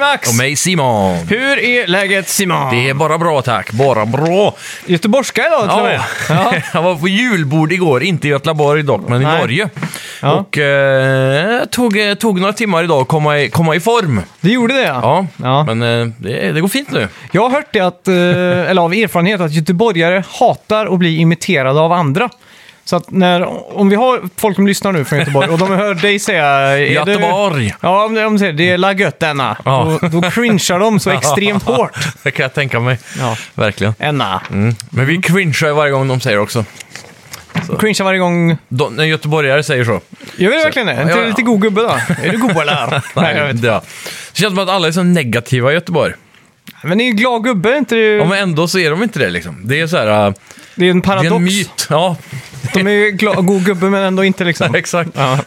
Alex. Och mig Simon. Hur är läget Simon? Det är bara bra tack, bara bra. Göteborgska idag till och med. Ja. jag var på julbord igår, inte i Göteborg dock, men i Nej. Norge. Ja. Och eh, tog, eh, tog några timmar idag att komma i, komma i form. Det gjorde det ja. Ja, Ja. men eh, det, det går fint nu. Jag har hört det att, eh, eller av erfarenhet, att göteborgare hatar att bli imiterade av andra. Så att när, om vi har folk som lyssnar nu från Göteborg och de hör dig säga... är du- Göteborg. Ja, om de, om de säger det är la gött denna. Ja. Då, då cringear de så extremt hårt. Det kan jag tänka mig. Ja. Verkligen. Enna. Mm. Men vi cringear varje gång de säger också. Cringear varje gång. De, när göteborgare säger så. Gör vi det verkligen det? Är inte Ja, det ja. lite god gubbe då? Är du god eller? Nej, jag vet. inte. ja. Det känns som att alla är så negativa i Göteborg. Men det är ju glad gubbe, inte det? Ja, men ändå så är de inte det liksom. Det är så här... eh, Det är en det är en paradox. myt. Ja, De är ju gla- god gubbe men ändå inte liksom. exakt. Ja.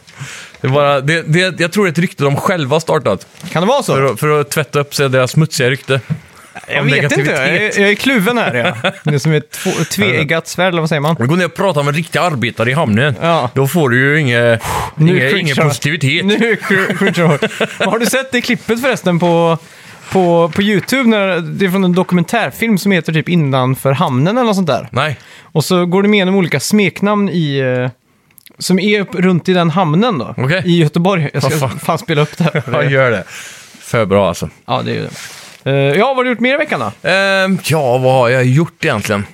Det är bara, det, det, jag tror det är ett rykte de själva startat. Kan det vara så? För, att- för att tvätta upp sig deras smutsiga rykte. Jag om vet inte, negativitet. jag är, jag är kluven här. Ja. Det är som ett två- tveeggat svärd, eller vad säger man? Gå ner och prata med riktiga arbetare i hamnen. Ja. Då får du ju inget, inget, cringear ingen jag. positivitet. Nu cr- cringear jag hårt. Har du sett det klippet förresten på, på, på YouTube? När, det är från en dokumentärfilm som heter typ Innanför hamnen eller något sånt där. Nej. Och så går de igenom olika smeknamn i... eh, Som är upp, runt i den hamnen då. Okej. I Göteborg. Jag ska Vad fan. fan. spela upp det här. Ja, gör det. För bra alltså. Ja, det är ju det. Eh, ja, vad har du gjort mer i veckan då? Ehm, ja, vad har jag gjort egentligen?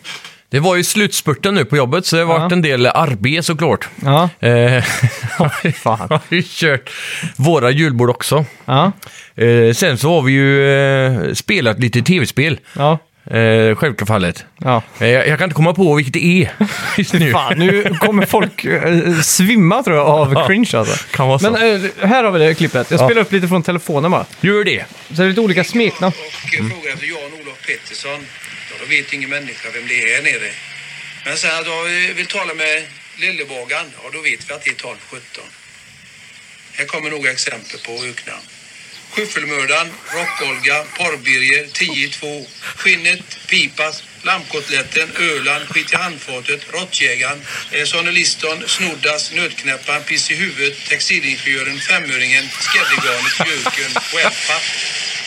Det var ju slutspurten nu på jobbet, så det har varit en del arbete såklart. Ja, Eh, fan. har ju kört våra julbord också. Ja, Eh, sen så har vi ju eh, spelat lite tv-spel. ja, Eh, självfallet. ja. Eh, jag, jag kan inte komma på vilket det är just nu. Fan, nu kommer folk eh, svimma tror jag av cringe alltså. Kan vara så. Men eh, här har vi det klippet. Jag spelar upp lite från telefonen bara. Gör det. Så det är lite olika smeknamn. och frågar efter Jan-Olof Pettersson. Ja, då vet ingen människa vem det är här nere. Men sen att jag eh, vill tala med Lillebågan, ja då vet vi att det är 1217. Här kommer några exempel på öknamn. Skyffelmördaren, Rockolga, Porrbirger, 10 i 2, Skinnet, Pipas, Lammkotletten, Öland, Skit i handfatet, Råttjägaren, eh, Sonny Liston, Snoddas, Nötknäpparen, Piss i huvudet, Textilingenjören, Femöringen, Skäddegarnet, Jöken, Wellpapp,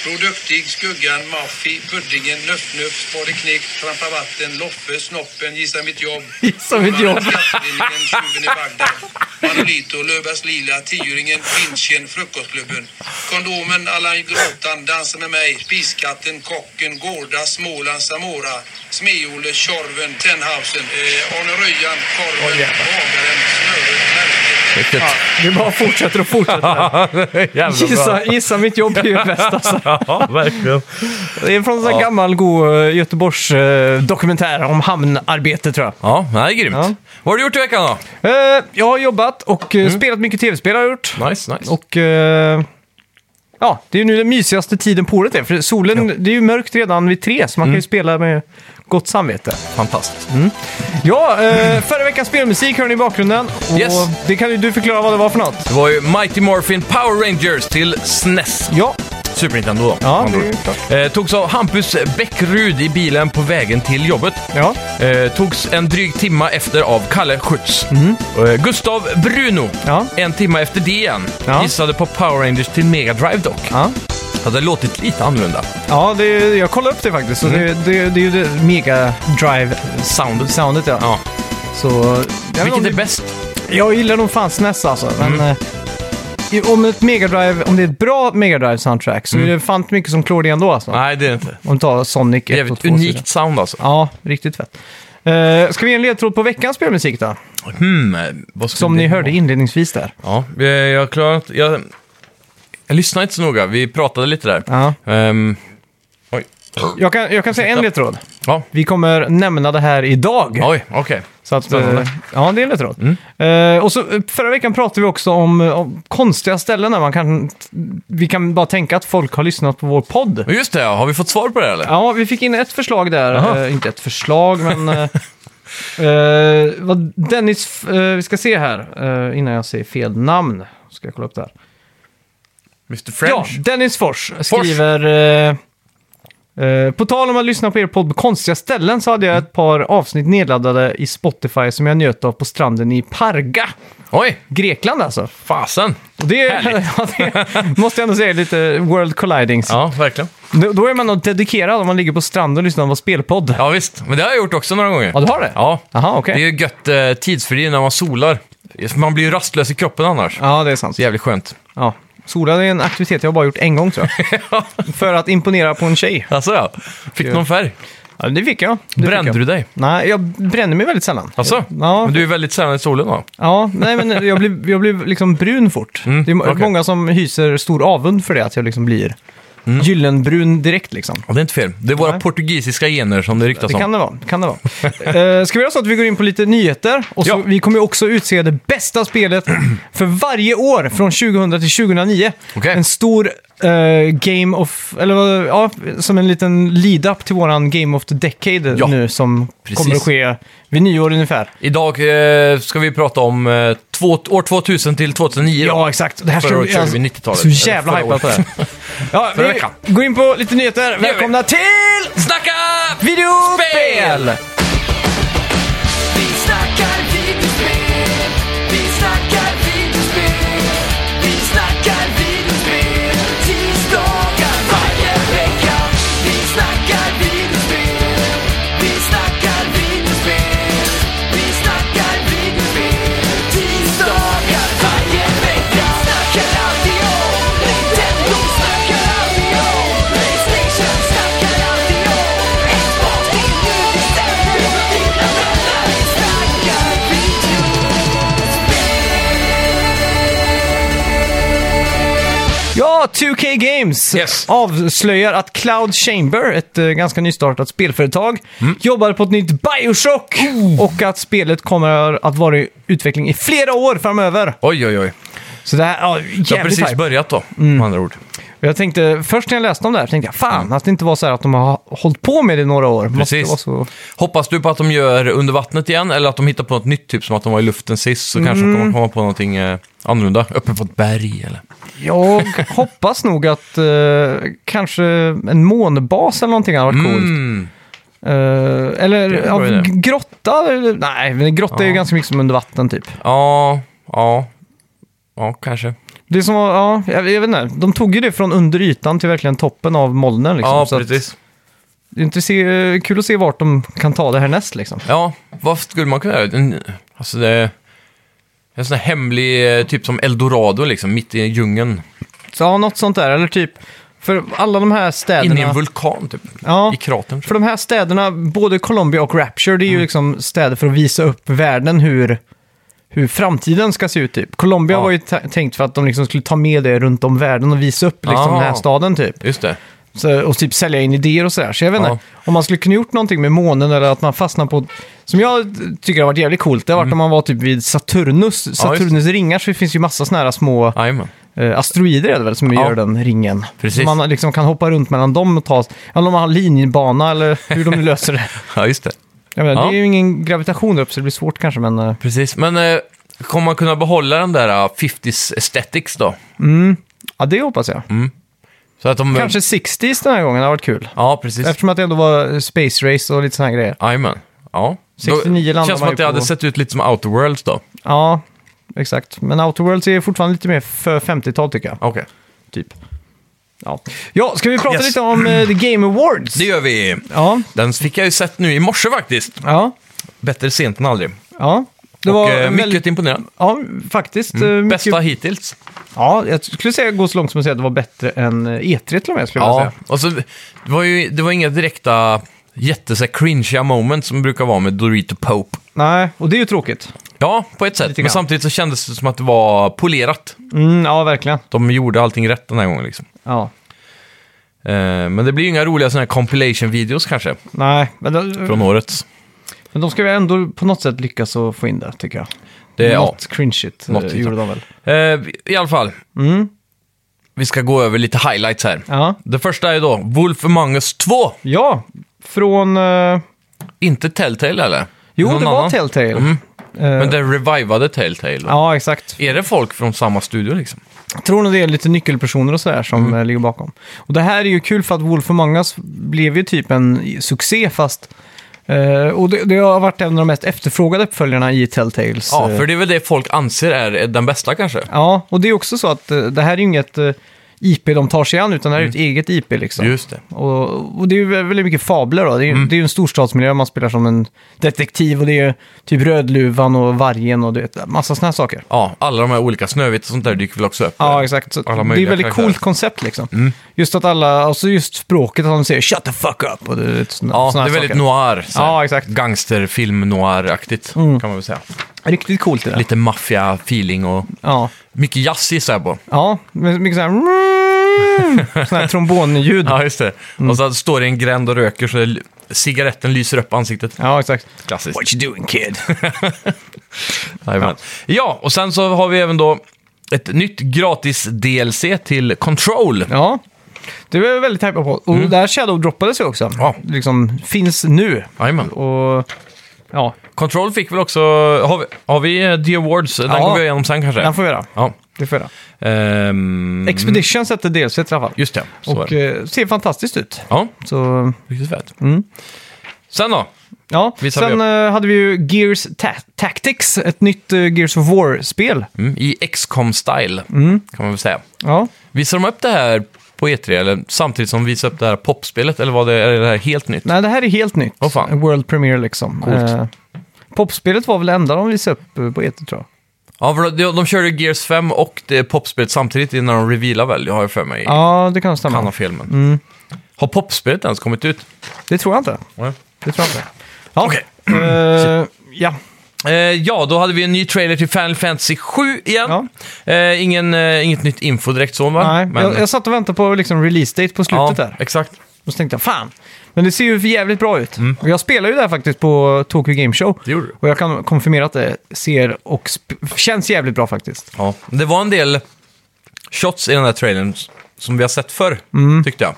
Bror Duktig, Skuggan, Maffi, Puddingen, Nöff-Nöff, Spade Knick, Trampa Vatten, Loffe, Snoppen, Gissa mitt jobb, Gissa mitt jobb. Kattlinjen, Tjuven i Bagdad, Manolito, Löfbergs Lila, Tioringen, Vinchen, Frukostklubben, Kondomen, Allan Gråtan, Dansa med mig, Spiskatten, Kocken, Gårda, Småland, Samora, Smeole, Tjorven, Tenhausen, eh, Arne Röjan, Korven, Åh, jävlar. Bagaren, Snöret, Märket. Riktigt. Ja, det bara fortsätter och fortsätter. Jävla Gissa, gissa mitt jobb är ju bäst alltså. ja, verkligen. Det är från en sån här Ja. gammal god eh, Göteborgs eh, dokumentär om hamnarbete tror jag. Ja, det är grymt. Ja. Vad har du gjort i veckan då? Eh, jag har jobbat och eh, spelat mycket tv-spel har jag gjort. Nice, nice. Och eh, ja, det är ju nu den mysigaste tiden på året är. För solen, det är ju mörkt redan vid tre, så man kan ju spela med gott samvete. Fantastiskt. Ja, eh, förra veckans spelmusik hör ni i bakgrunden. Och Yes. det kan ju du förklara vad det var för något. Det var ju Mighty Morphin Power Rangers till SNES. Ja, Super Nintendo då. Ja, andra det är ord. klart. eh, Togs av Hampus Bäckrud i bilen på vägen till jobbet. ja. Eh, togs en dryg timma efter av Kalle Schütz. Eh, Gustav Bruno, Mhm. Ja. en timma efter det igen, Ja. gissade på Power Rangers till Mega Drive dock. Ja, Hade låtit lite annorlunda. ja det, jag kollade upp det faktiskt. Så det, det, det är ju det mega drive Soundet. soundet ja. Ja. Så, jag, vet inte om Vilket är det, bäst? jag gillar nog fan SNES alltså. Men, eh, i- om, ett mega drive, om det är ett bra Mega drive soundtrack så är det fan inte mycket som klår det ändå alltså. Nej, det är inte. Om du tar Sonic 1 Det är och ett 2. unikt sound alltså. Ja, riktigt fett. Eh, ska vi ge en ledtråd på veckans spelmusik då? Hmm, eh, vad skulle Som det ni vara? hörde inledningsvis där. Ja, eh, jag klarar inte... Jag, jag lyssnade inte så noga, vi pratade lite där. Ja. Ehm, oj. Jag kan, jag kan säga en ledtråd. Ja. Vi kommer nämna det här idag. Oj, okej. så att, spännande. Mm. eh, ja, det är en ledtråd. Eh, och så, eh, förra veckan pratade vi också om, eh, om konstiga ställen där man kan... Vi kan bara tänka att folk har lyssnat på vår podd. Men Just det, ja. har vi fått svar på det eller? Ja, vi fick in ett förslag där. Jaha. Eh, inte ett förslag, men... eh, eh, vad Dennis... eh, vi ska se här, eh, innan jag säger fel namn. Ska jag kolla upp det här. Mr French? Ja, Dennis Fors skriver... eh, eh, på tal om att lyssna på er podd på konstiga ställen så hade jag ett par avsnitt nedladdade i Spotify som jag njöt av på stranden i Parga. Oj, Grekland alltså. fasen. Och det, Härligt. ja, det måste jag ändå säga är lite World Collidings. Ja, verkligen. Då, då är man nog dedikerad om man ligger på stranden och lyssnar på spelpodd. Ja, visst. Men det har jag gjort också några gånger. Ja, du har det? Ja. Jaha, okej. Det är ju gött eh, tidsfri när man solar. Man blir ju rastlös i kroppen annars. Ja, det är sant. Så jävligt skönt. Ja. Sola är en aktivitet jag bara gjort en gång tror jag. För att imponera på en tjej. Alltså ja. Fick du någon färg? Ja, det fick jag. Det Brände fick jag. du dig? Nej, jag bränner mig väldigt sällan. Alltså? Ja. Men du är väldigt sällan i solen va? Ja, nej men jag blir, jag blir liksom brun fort. det är okej. många som hyser stor avund för det, att jag liksom blir gyllenbrun direkt liksom. Ja, det är inte fel. Det är våra Nej. portugisiska gener som det ryktas Det kan om. det vara. Kan det vara. Eh, ska vi göra så att vi går in på lite nyheter? Och så, Ja. Vi kommer ju också utse det bästa spelet för varje år från 2000 till 2009. Okej. En stor eh, Game of... Eller vad- ja, som en liten lead-up till våran Game of the Decade Ja. nu som Precis. kommer att ske vid nyår ungefär. Idag eh, ska vi prata om eh, två, år 2000 till 2009. då. Ja, exakt. Det här Förra ska året vi... körde Alltså, vi 90-talet. så jävla Eller förra hypad på det här. ja, Förra vi veckan. går in på lite nyheter. vi. Välkomna till Snacka! videospel! Vi snackar videospel, vi snackar videospel, vi snackar videospel, tisdagar varje vecka. Vi snackar videospel, vi snackar videospel, vi snackar videospel, tisdagar varje vecka. Snackar alltid om Nintendo, snackar alltid om Playstation, snackar alltid om Xbox, det är nu vi sätter dina vänner. Vi snackar videospel. Ja, 2K Games Yes. avslöjar att Cloud Chamber, ett eh, ganska nystartat spelföretag, Mm. jobbar på ett nytt Bioshock och att spelet kommer att vara i utveckling i flera år framöver. Oj, oj, oj. Så det här, ja, Det har jävligt precis hype. börjat då, med andra ord. Jag tänkte, först när jag läste om det här tänkte jag, fan att det inte var så här att de har hållit på med det i några år. Måste Mm. Precis. Vara så... Hoppas du på att de gör under vattnet igen eller att de hittar på något nytt, typ som att de var i luften sist, Mm. så kanske de kommer komma på någonting eh, annorlunda. Uppe på ett berg eller? Jag hoppas nog att eh, kanske en månbas eller någonting hade varit coolt. Mm. Eh, eller är en ja, bra idé. grotta? eller- Nej, men grotta är ju Ja. ganska mycket som under vatten typ. Ja, ja, ja, kanske. Det som var, ja, jag, jag vet inte. De tog ju det från under ytan till verkligen toppen av molnen. Liksom. ja, Så att precis. det är inte se, kul att se vart de kan ta det härnäst liksom. Ja, vad skulle man kunna göra? En- Alltså det... En sån här hemlig, eh, typ som Eldorado liksom, mitt i djungeln. Så ja, något sånt där. Eller typ, för alla de här Inne i en städerna... vulkan typ. Ja, I kratern. tror för de här städerna, både Colombia och Rapture, det Mm. är ju liksom städer för att visa upp världen hur, hur framtiden ska se ut typ. Colombia Ja. var ju ta- tänkt för att de liksom skulle ta med det runt om världen och visa upp liksom, Ah. den här staden typ. jag. Just det. Så, och typ sälja in idéer och sådär. Så jag vet inte, Ja. om man skulle kunna gjort någonting med månen eller att man fastnar på... Som jag tycker har varit jävligt coolt, det har varit Mm. när man var typ vid Saturnus. Saturnus ringar, så det finns ju massa sådana här små Jajamän. eh, asteroider är det väl, som Ja. gör den ringen. Precis. Så man liksom kan hoppa runt mellan dem och ta... Eller om man har linjebana eller hur de nu löser det. Ja, just det. Jag menar, Ja. Det är ju ingen gravitation där uppe så det blir svårt kanske, men... eh, Precis. Men eh, kommer man kunna behålla den där eh, 50s aesthetics då? Ja, det hoppas jag. Så att de... Kanske 60s den här gången har varit kul. Ja, precis. Eftersom att det ändå var eh, space race och lite sådana grejer. Jajamän. Ja. 69 då, landar känns man som ju att det hade på. sett ut lite som Outer Worlds då. Ja, exakt. Men Outer Worlds är fortfarande lite mer för 50-tal tycker jag. Okej. Typ. Ja. ja, ska vi prata Yes. lite om eh, The Game Awards? Det gör vi. Ja, Den fick jag ju sett nu i morse faktiskt. ja, Bättre sent än aldrig. ja. Det Och, var eh, mycket väldigt, imponerande. ja, faktiskt. eh, mycket- Bästa hittills. Ja, jag skulle säga gå så långt som att säga att det var bättre än eh, E3 till och med, skulle jag Ja, säga. och så, det, var ju, det var inga direkta jättecringiga moment som brukar vara med Dorito Pope. Nej, och det är ju tråkigt. Ja, på ett sätt. Lite Men grann. samtidigt så kändes det som att det var polerat. Mm, ja, verkligen. De gjorde allting rätt den här gången liksom. Ja. Eh, men det blir ju inga roliga sådana här compilation-videos kanske, Nej, men de, från årets. men de ska väl ändå på något sätt lyckas att få in det, tycker jag. Det, ja. Något cringe-igt eh, Något, liksom. gjorde de väl. Eh, I alla fall. Vi ska gå över lite highlights här. Mm. Ja, Det första är då Wolf Among Us 2. ja från... eh, Inte Telltale eller? Jo, Någon det var annan? Mm. Telltale. Eh, Men det revivade Telltale. då. Ja, exakt. Är det folk från samma studio liksom? Jag tror nog det är lite nyckelpersoner och sådär som Mm. eh, ligger bakom. Och det här är ju kul för att Wolf Among Us blev ju typ en succé fast Eh, och det, det har varit en av de mest efterfrågade uppföljarna i Telltales. Ja, eh, för det är väl det folk anser är den bästa kanske. Ja, och det är också så att eh, det här är ju inget eh, IP de tar sig an, utan det här är ett eget IP liksom. Mm. Just Mm. det. Och, och det är ju väldigt mycket fabler då. Det är, ju- det är ju en storstadsmiljö, man spelar som en detektiv och det är ju typ Rödluvan och Vargen och du vet, massa sådana här saker. Ja, alla de här olika Snövit och sånt där dyker väl också upp. Ja, exakt. Så det alla är ett möjliga väldigt karaktärer. Mm. coolt koncept liksom. Just att alla, alltså just språket att de säger “shut the fuck up” och det, såna, Ja, det såna är här väldigt saker. noir. så här. Ja, exakt. Mm. Gangsterfilm noir-aktigt kan man väl säga. Riktigt coolt det där. Lite maffia-feeling och Ja. mycket jazz gissar jag på. ja, men mycket såhär... sådana här trombonljud. Ja, just det. Mm. Och så står det i en gränd och röker så l- cigaretten lyser upp ansiktet. Ja, exakt. Klassiskt. What you doing kid? Ja. ja, och sen så har vi även då ett nytt gratis DLC till Control. Ja, det var jag väldigt hypad på. Och där Shadow droppades ju också. Mm. Ja. Liksom, finns nu. Jajamän. Och ja, Control fick väl också... Har vi, har vi eh, The Awards? Den Ja. går vi igenom sen kanske. den får vi göra. Ja. Det får vi göra. Ehm, Expedition sätter dels i alla fall. just det. Så Och är det. eh, ser fantastiskt ut. Ja, Så, riktigt fett. Mm. Sen då? ja. Visar vi Sen upp. eh, hade vi ju Gears Ta- Tactics, ett nytt eh, Gears of War-spel. Mm, I xcom style Mm. kan man väl säga. Ja. Visar de upp det här på E3 eller samtidigt som de visar upp det här popspelet eller vad det är, är det här helt nytt? Nej, det här är helt nytt. Åh, fan. World Premiere liksom. Coolt. Eh, popspelet var väl det enda de visade upp eh, på E3 tror jag. Ja, för de, de körde ju Gears 5 och det popspelet samtidigt innan de revealar väl, det har jag för mig. Ja, Mm. det kan stämma. Kan ha fel, men. Har popspelet ens kommit ut? Det tror jag inte. Nej. Det tror jag inte. Ja. Okej. Eh, ja. Eh, ja, då hade vi en ny trailer till Final Fantasy 7 igen. Eh, ingen, eh, inget nytt info direkt så, va? Nej, Men- jag, jag satt och väntade på liksom release date på ja, slutet där. exakt. Och så tänkte jag, fan. Men det ser ju för jävligt bra ut. Och jag spelar ju där faktiskt på Tokyo Game Show. Mm. Det gjorde du. Och jag kan konfirmera att det ser och sp- känns jävligt bra faktiskt. Ja. Det var en del shots i den här trailern s- som vi har sett förr, Mm. tyckte jag.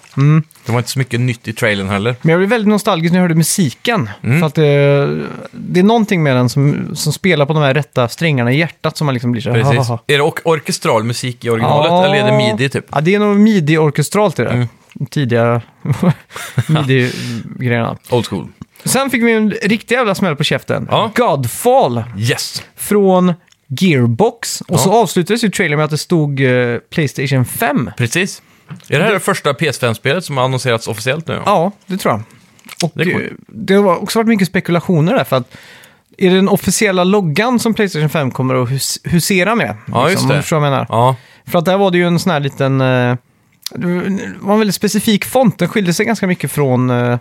Det var inte så mycket nytt i trailern heller. Men jag blev väldigt nostalgisk när jag hörde musiken. Mm. För att det, det är någonting med den som, som spelar på de här rätta strängarna i hjärtat som man liksom blir så här, Precis. "Ha, ha, ha." Är det ork- orkestral musik i originalet Ja. eller är det midi typ? Mm. Ja, det är nog midi-orkestralt det där. Tidiga midi-grejerna. Old school. Sen fick vi en riktig jävla smäll på käften. Ja. Godfall Yes! från Gearbox. Och så Ja. avslutades ju trailern med att det stod eh, Playstation 5. Precis. Är det här det första PS5-spelet som har annonserats officiellt nu? Ja, det tror jag. Och Det är det, coolt. det har också varit mycket spekulationer där, för att är det den officiella loggan som Playstation 5 kommer att hus- husera med? Liksom, Ja, just om du det. förstår vad jag menar. Ja, För att där var det ju en sån här liten... Eh, det var en väldigt specifik font. Den skilde sig ganska mycket från, eh,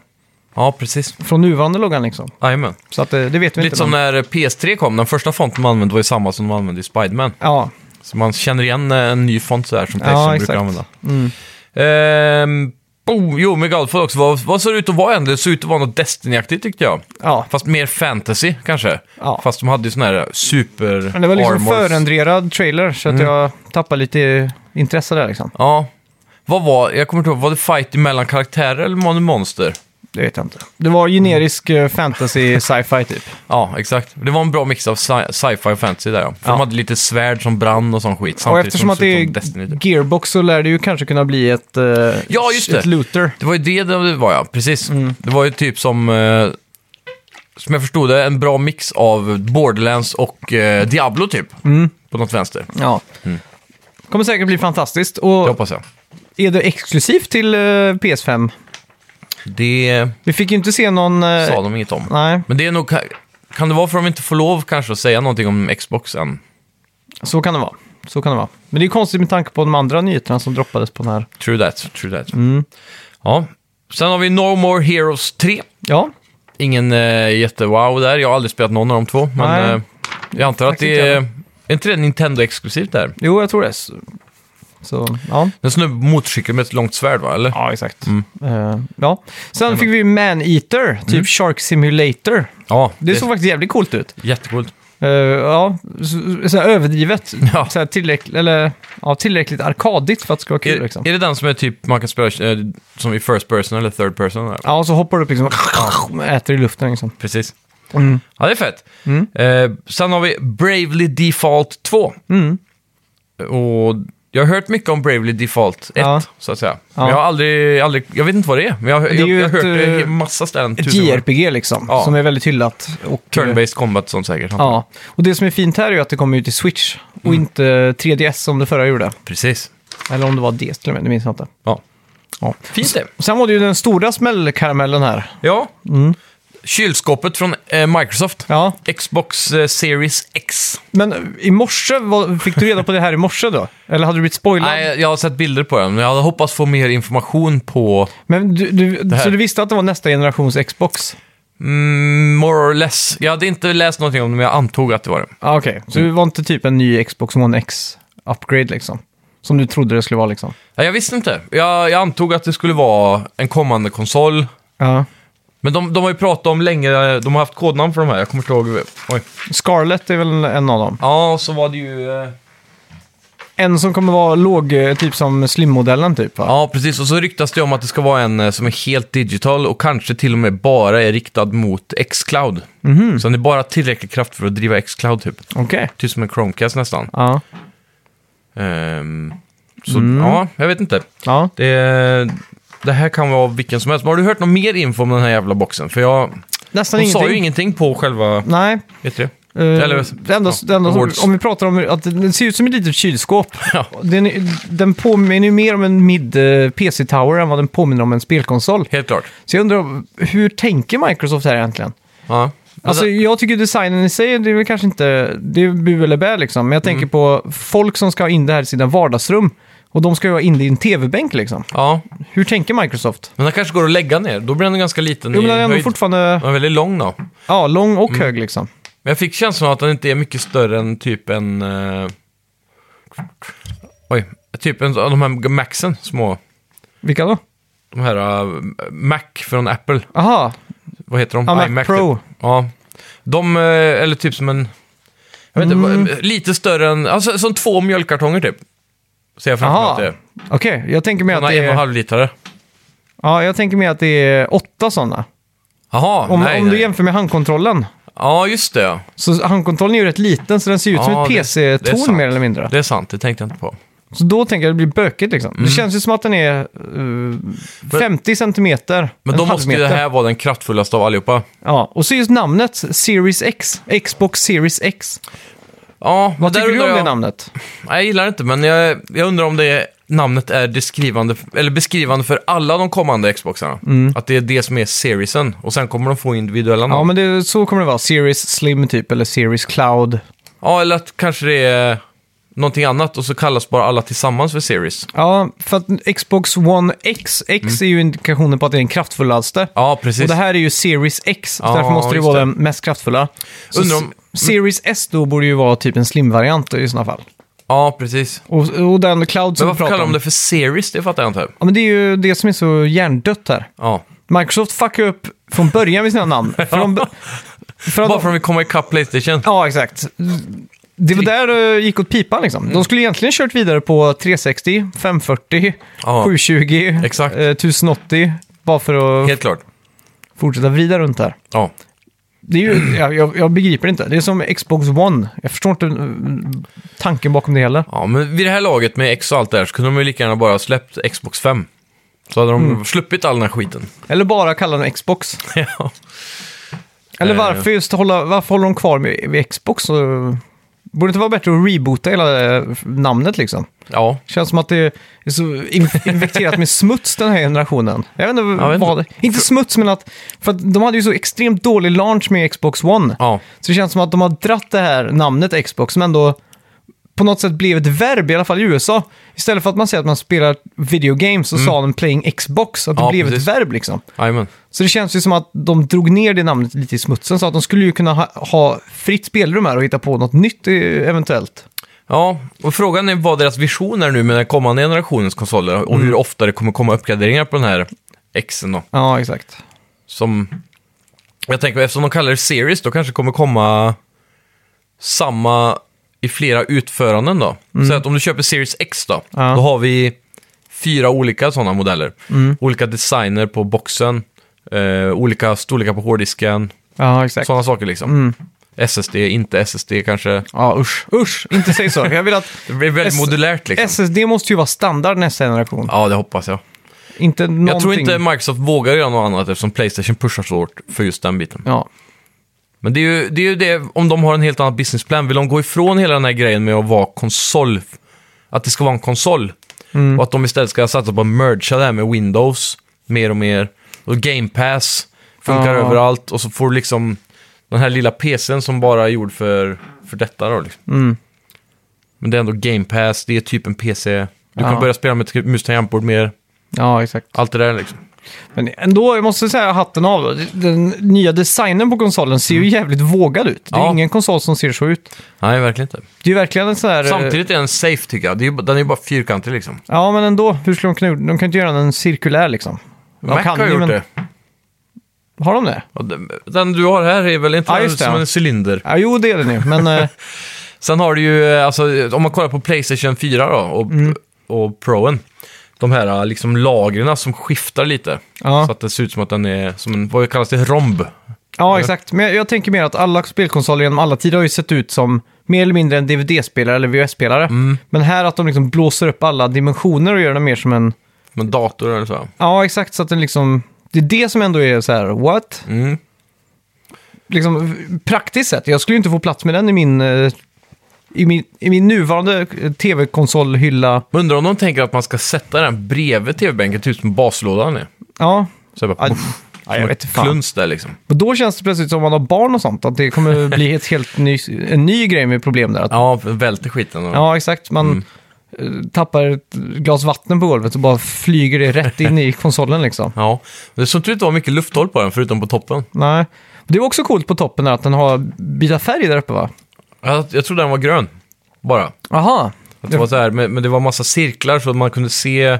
ja precis. från nuvarande loggan liksom. Jajamän. Så att, eh, det vet vi inte. Lite som men- när PS3 kom, den första fonten man använde var ju samma som man använde i Spiderman. Ja, Så man känner igen eh, en ny font så här som Ja, Playstation brukar exakt. Mm. använda. Ehm, oh, jo, med Godfall också. Vad, vad såg det ut att vara egentligen? Det såg ut att vara något Destiny-aktigt tyckte jag. ja. Fast mer fantasy kanske. Ja. Fast de hade ju sån här super Men det var liksom armors. Mm. förändrad trailer, så att jag tappade lite intresse där liksom. Ja. Vad var, jag kommer inte ihåg, var det fight mellan karaktärer eller var det monster? Det vet jag inte. Det var generisk eh, fantasy sci-fi typ. Ja, exakt. Det var en bra mix av sci- sci-fi och fantasy där ja. För Ja. de hade lite svärd som brann och sån skit. Och Samtidigt eftersom som att det såg ut är som Destiny. typ. Gearbox så lär det ju kanske kunna bli ett, eh, Ja, just det. ett looter. Det var ju det det var ja, precis. Mm. Det var ju typ som, eh, som jag förstod det, en bra mix av Borderlands och eh, Diablo typ. Mm. På något vänster. Ja. Kommer säkert bli fantastiskt. Och Det hoppas jag. är det exklusivt till eh, PS5? Det Vi fick ju inte se någon... eh, sa de inget om. Nej, Men det är nog, ka- kan det vara för att de inte får lov kanske att säga någonting om Xbox än? så kan det vara. Så kan det vara. Men det är ju konstigt med tanke på de andra nyheterna som droppades på den här. True that, true that. Mm. Ja. Sen har vi No More Heroes 3. Ja, Ingen eh, jättewow där, jag har aldrig spelat någon av de två. Men Nej. eh, jag antar att Faktiskt det inte är, jag. är inte det Nintendo-exklusivt där? jo jag tror det. Så, så ja. En snubbe på motorcykel med ett långt svärd va, eller? Ja, exakt. Eh, ja. Sen fick vi Man-Eater, Mm. typ Shark Simulator. Ja, Det såg faktiskt jävligt coolt ut. Jättecoolt. Eh, ja, så, så här överdrivet. Ja. Så här tillräckligt, eller, ja, tillräckligt arkadigt för att det ska vara kul. Är, Liksom. är det den som är typ man kan spela eh, som i first person eller third person? Eller? Ja, och så hoppar du upp liksom, och äter i luften. Liksom. Precis. Mm. Ja, det är fett. Mm. Eh, sen har vi Bravely Default 2. Och Jag har hört mycket om Bravely Default 1, Ja. så att säga. Ja. Men jag har aldrig, aldrig, jag vet inte vad det är. Men jag, har- är jag, ju jag har hört ett, det i eh, massa ställen. Ett tusen gånger. JRPG liksom, Ja. som är väldigt hyllat. Och, eh, Turn-based combat och sånt säkert. Ja, och det som är fint här är ju att det kommer ju till Switch och Mm. inte 3DS som det förra gjorde. Precis. Eller om det var DS till och med, det minns jag inte. Ja. Ja. Fint det. Sen var det ju den stora smällkaramellen här. Ja. Kylskåpet från eh, Microsoft. Mm. Ja, Xbox eh, Series X. men i morse, vad, fick du reda på det här i morse då? Eller hade du blivit spoilad? Nej, jag har sett bilder på den, men jag hade hoppats få mer information på Men du, du, här. så du visste att det var nästa generations Xbox? mm, more or less. Jag hade inte läst någonting om det, men jag antog att det var det. Ja, Ah, okej. Så det var inte typ en ny Xbox One X-upgrade liksom? Som du trodde det skulle vara liksom? Nej, jag visste inte. Jag, jag antog att det skulle vara en kommande konsol. Ja. Men de, de har ju pratat om länge, de har haft kodnamn för de här, jag kommer inte ihåg. Oj. Scarlett är väl en av dem? Ja, och så var det ju... eh, En som kommer vara låg, eh, typ som slimmodellen typ va? Ja, precis. Och så ryktas det om att det ska vara en eh, som är helt digital och kanske till och med bara är riktad mot X-Cloud. Så den är bara tillräckligt kraft för att driva X-Cloud typ. Okej. Typ som en Chromecast nästan. Ja. Ehm, så ja, jag vet inte. ja. Det, det här kan vara vilken som helst. Men har du hört något mer info om den här jävla boxen? För jag... Nästan De ingenting. sa ju ingenting på själva... Nej. Vet du det? Eh, Eller- det enda, ja, det enda som, awards. om vi pratar om att den ser ut som ett litet kylskåp. Ja. Den, är- den påminner ju mer om en mid eh, PC Tower än vad den påminner om en spelkonsol. Helt klart. Så jag undrar, hur tänker Microsoft här egentligen? Ja. Alltså, jag tycker designen i sig, det är väl kanske inte, det är bu eller bä liksom. Men jag Mm. tänker på folk som ska ha in det här i sina vardagsrum. Och de ska ju ha in det i en tv-bänk liksom. ja, Hur tänker Microsoft? men den kanske går att lägga ner. Då blir den ganska liten Jo, men i den är ändå höjd. Mm. fortfarande Den är väldigt lång då. Men ja, lång och hög liksom. jag fick känslan av att den inte är mycket större än typ en... eh, Oj, typ en av de här Maxen, små. Vilka då? De här eh, Mac från Apple. Aha, Vad heter de? Ja, Mac Pro. Typ. Ja. De, eh, eller typ som en... Jag vet Mm. inte, vad- lite större än... Alltså som två mjölkkartonger typ. Ser jag framför mig aha. att det är. Okej, jag tänker mer att Såna det en och en är... halv litare. Ja, jag tänker mer att det är åtta sådana. Jaha, Om, nej, om du nej. jämför med handkontrollen. Ja, just det. ja. Så handkontrollen är ju rätt liten, så den ser ut som Ja, ett det- det är PC-torn sant. mer eller mindre. Det är sant, det tänkte jag inte på. Så då tänker jag att det blir bökigt liksom. Mm. Det känns ju som att den är eh, 50 centimeter. Men en då halv måste ju det meter. här vara den kraftfullaste av allihopa. Ja, och så just namnet Series X. Xbox Series X. Ja, Vad där tycker du om undrar det jag- namnet? Nej, jag gillar det inte, men jag, jag undrar om det är, namnet är beskrivande, eller beskrivande för alla de kommande Xboxarna. Att det är det som är seriesen, och sen kommer de få individuella namn. Mm. Ja, men det, så kommer det vara. Series Slim typ, eller Series Cloud. Ja, eller att kanske det är någonting annat och så kallas bara alla tillsammans för series. Ja, för att Xbox One X, X är ju indikationen på att det är den kraftfullaste. Mm. Ja, precis. Och det här är ju Series X, så Ja, därför måste det just vara det. den mest kraftfulla. Så Undrar om- S- Series S då borde ju vara typ en slim-variant i sådana fall. Ja, precis. Och, och den Cloud Men som vi varför pratar kallar om. de det för series? Det fattar jag inte. Ja, men det är ju det som är så hjärndött här. Ja. Microsoft fuckar upp från början med sina namn. För de, för att Bara för att vi kommer ikapp Playstation. Ja, exakt. Det var där det gick åt pipan liksom. Mm. De skulle egentligen kört vidare på 360, 540, Ja. 720, Exakt. eh, 1080. Bara för att Helt klart. fortsätta vrida runt där. Ja. Det är ju, jag, jag, jag begriper inte. Det är som Xbox One. Jag förstår inte mm, tanken bakom det heller. ja, men vid det här laget med X och allt det här så kunde de ju lika gärna bara ha släppt Xbox 5. Så hade de Mm. sluppit all den här skiten. Eller bara kalla den Xbox. ja. Eller Eh. varför, just hålla, varför håller de kvar med, vid Xbox? Så, borde det inte vara bättre att reboota hela eh, namnet liksom? ja. Känns som att det är så in- infekterat med smuts den här generationen. Jag vet inte Jag vet vad... Inte. smuts, men att... För att de hade ju så extremt dålig launch med Xbox One. Ja. Så det känns som att de har dratt det här namnet Xbox, som ändå på något sätt blev ett verb, i alla fall i USA. Istället för att man säger att man spelar video games så sa de playing Xbox, att det Mm. Ja, blev precis. ett verb liksom. Jajamän. Så det känns ju som att de drog ner det namnet lite i smutsen, så att de skulle ju kunna ha, ha fritt spelrum här och hitta på något nytt eh, eventuellt. Ja, och frågan är vad deras vision är nu med den kommande generationens konsoler och Mm. hur ofta det kommer komma uppgraderingar på den här Xen då. Ja, exakt. som... Jag tänker, eftersom de kallar det series, då kanske det kommer komma samma i flera utföranden då. Så att om du köper Series X då, Mm. Ja. då har vi fyra olika sådana modeller. Mm. Olika designer på boxen, eh, olika storlekar på hårddisken, Ja, exakt. Mm. sådana saker liksom. SSD, inte SSD kanske. Ja, usch. Usch, inte säg så. Jag vill att Det blir väldigt S- modulärt liksom. SSD måste ju vara standard nästa generation. ja, det hoppas jag. Inte någonting. Jag tror inte Microsoft vågar göra något annat eftersom Playstation pushar så hårt för just den biten. Ja. Men det är, ju, det är ju det, om de har en helt annan businessplan, vill de gå ifrån hela den här grejen med att vara konsol, att det ska vara en konsol? Mm. Och att de istället ska satsa på att mergea det här med Windows mer och mer. Och Game Pass funkar Ja. överallt och så får du liksom den här lilla PCn som bara är gjord för, för detta då liksom. Mm. Men det är ändå Game Pass, det är typ en PC. Du Ja. kan börja spela med mus tangentbord mer, ja, exakt. allt det där liksom. Men ändå, jag måste säga hatten av. då. Den nya designen på konsolen ser ju jävligt vågad ut. Det är Mm. Ja. ingen konsol som ser så ut. Nej, verkligen inte. Det är ju verkligen en sån här... eh, Samtidigt är den safe tycker jag. Det är, ju- den är ju bara fyrkantig liksom. Ja, men ändå. Hur skulle de kunna gjort- De kan inte göra den cirkulär liksom. De Mac kan har ju, gjort men- det. Har de det? Ja, den- Den du har här är väl inte Ja, just det, som ja. en cylinder? Ja, jo, det är den ju. Men eh, Sen har du ju, eh, alltså, om man kollar på Playstation 4 då, och, Mm. och Proen. De här eh, liksom lagren som skiftar lite. Ja. Så att det ser ut som att den är, som en, vad kallas det, romb? ja, exakt. Men jag, jag tänker mer att alla spelkonsoler genom alla tider har ju sett ut som mer eller mindre en DVD-spelare eller VHS-spelare. Men här att de liksom blåser upp alla dimensioner och gör den mer som en... Som en dator eller så. Ja, exakt. Så att den liksom... Det är det som ändå är så här, what? Mm. liksom, praktiskt sett, jag skulle ju inte få plats med den i min, eh, i min, i min nuvarande eh, tv-konsolhylla. Men undrar om de tänker att man ska sätta den bredvid tv-bänken, typ som baslådan är. Ja. Så jag bara, Ja, puff, ja, jag vet inte fan. kluns där liksom. Och då känns det plötsligt som om man har barn och sånt, att det kommer bli ett helt ny, en ny grej med problem där. Att, ja. Ja, välter skiten. Och, exakt. Man Mm. eh, tappar ett glas vatten på golvet och bara flyger det rätt in i konsolen liksom. ja. Det såg inte ut att vara mycket lufthåll på den, förutom på toppen. Nej. Det var också coolt på toppen där att den har byta färg där uppe va? Jag, jag trodde den var grön, bara. Aha. Att det var så här, men, men det var massa cirklar så att man kunde se...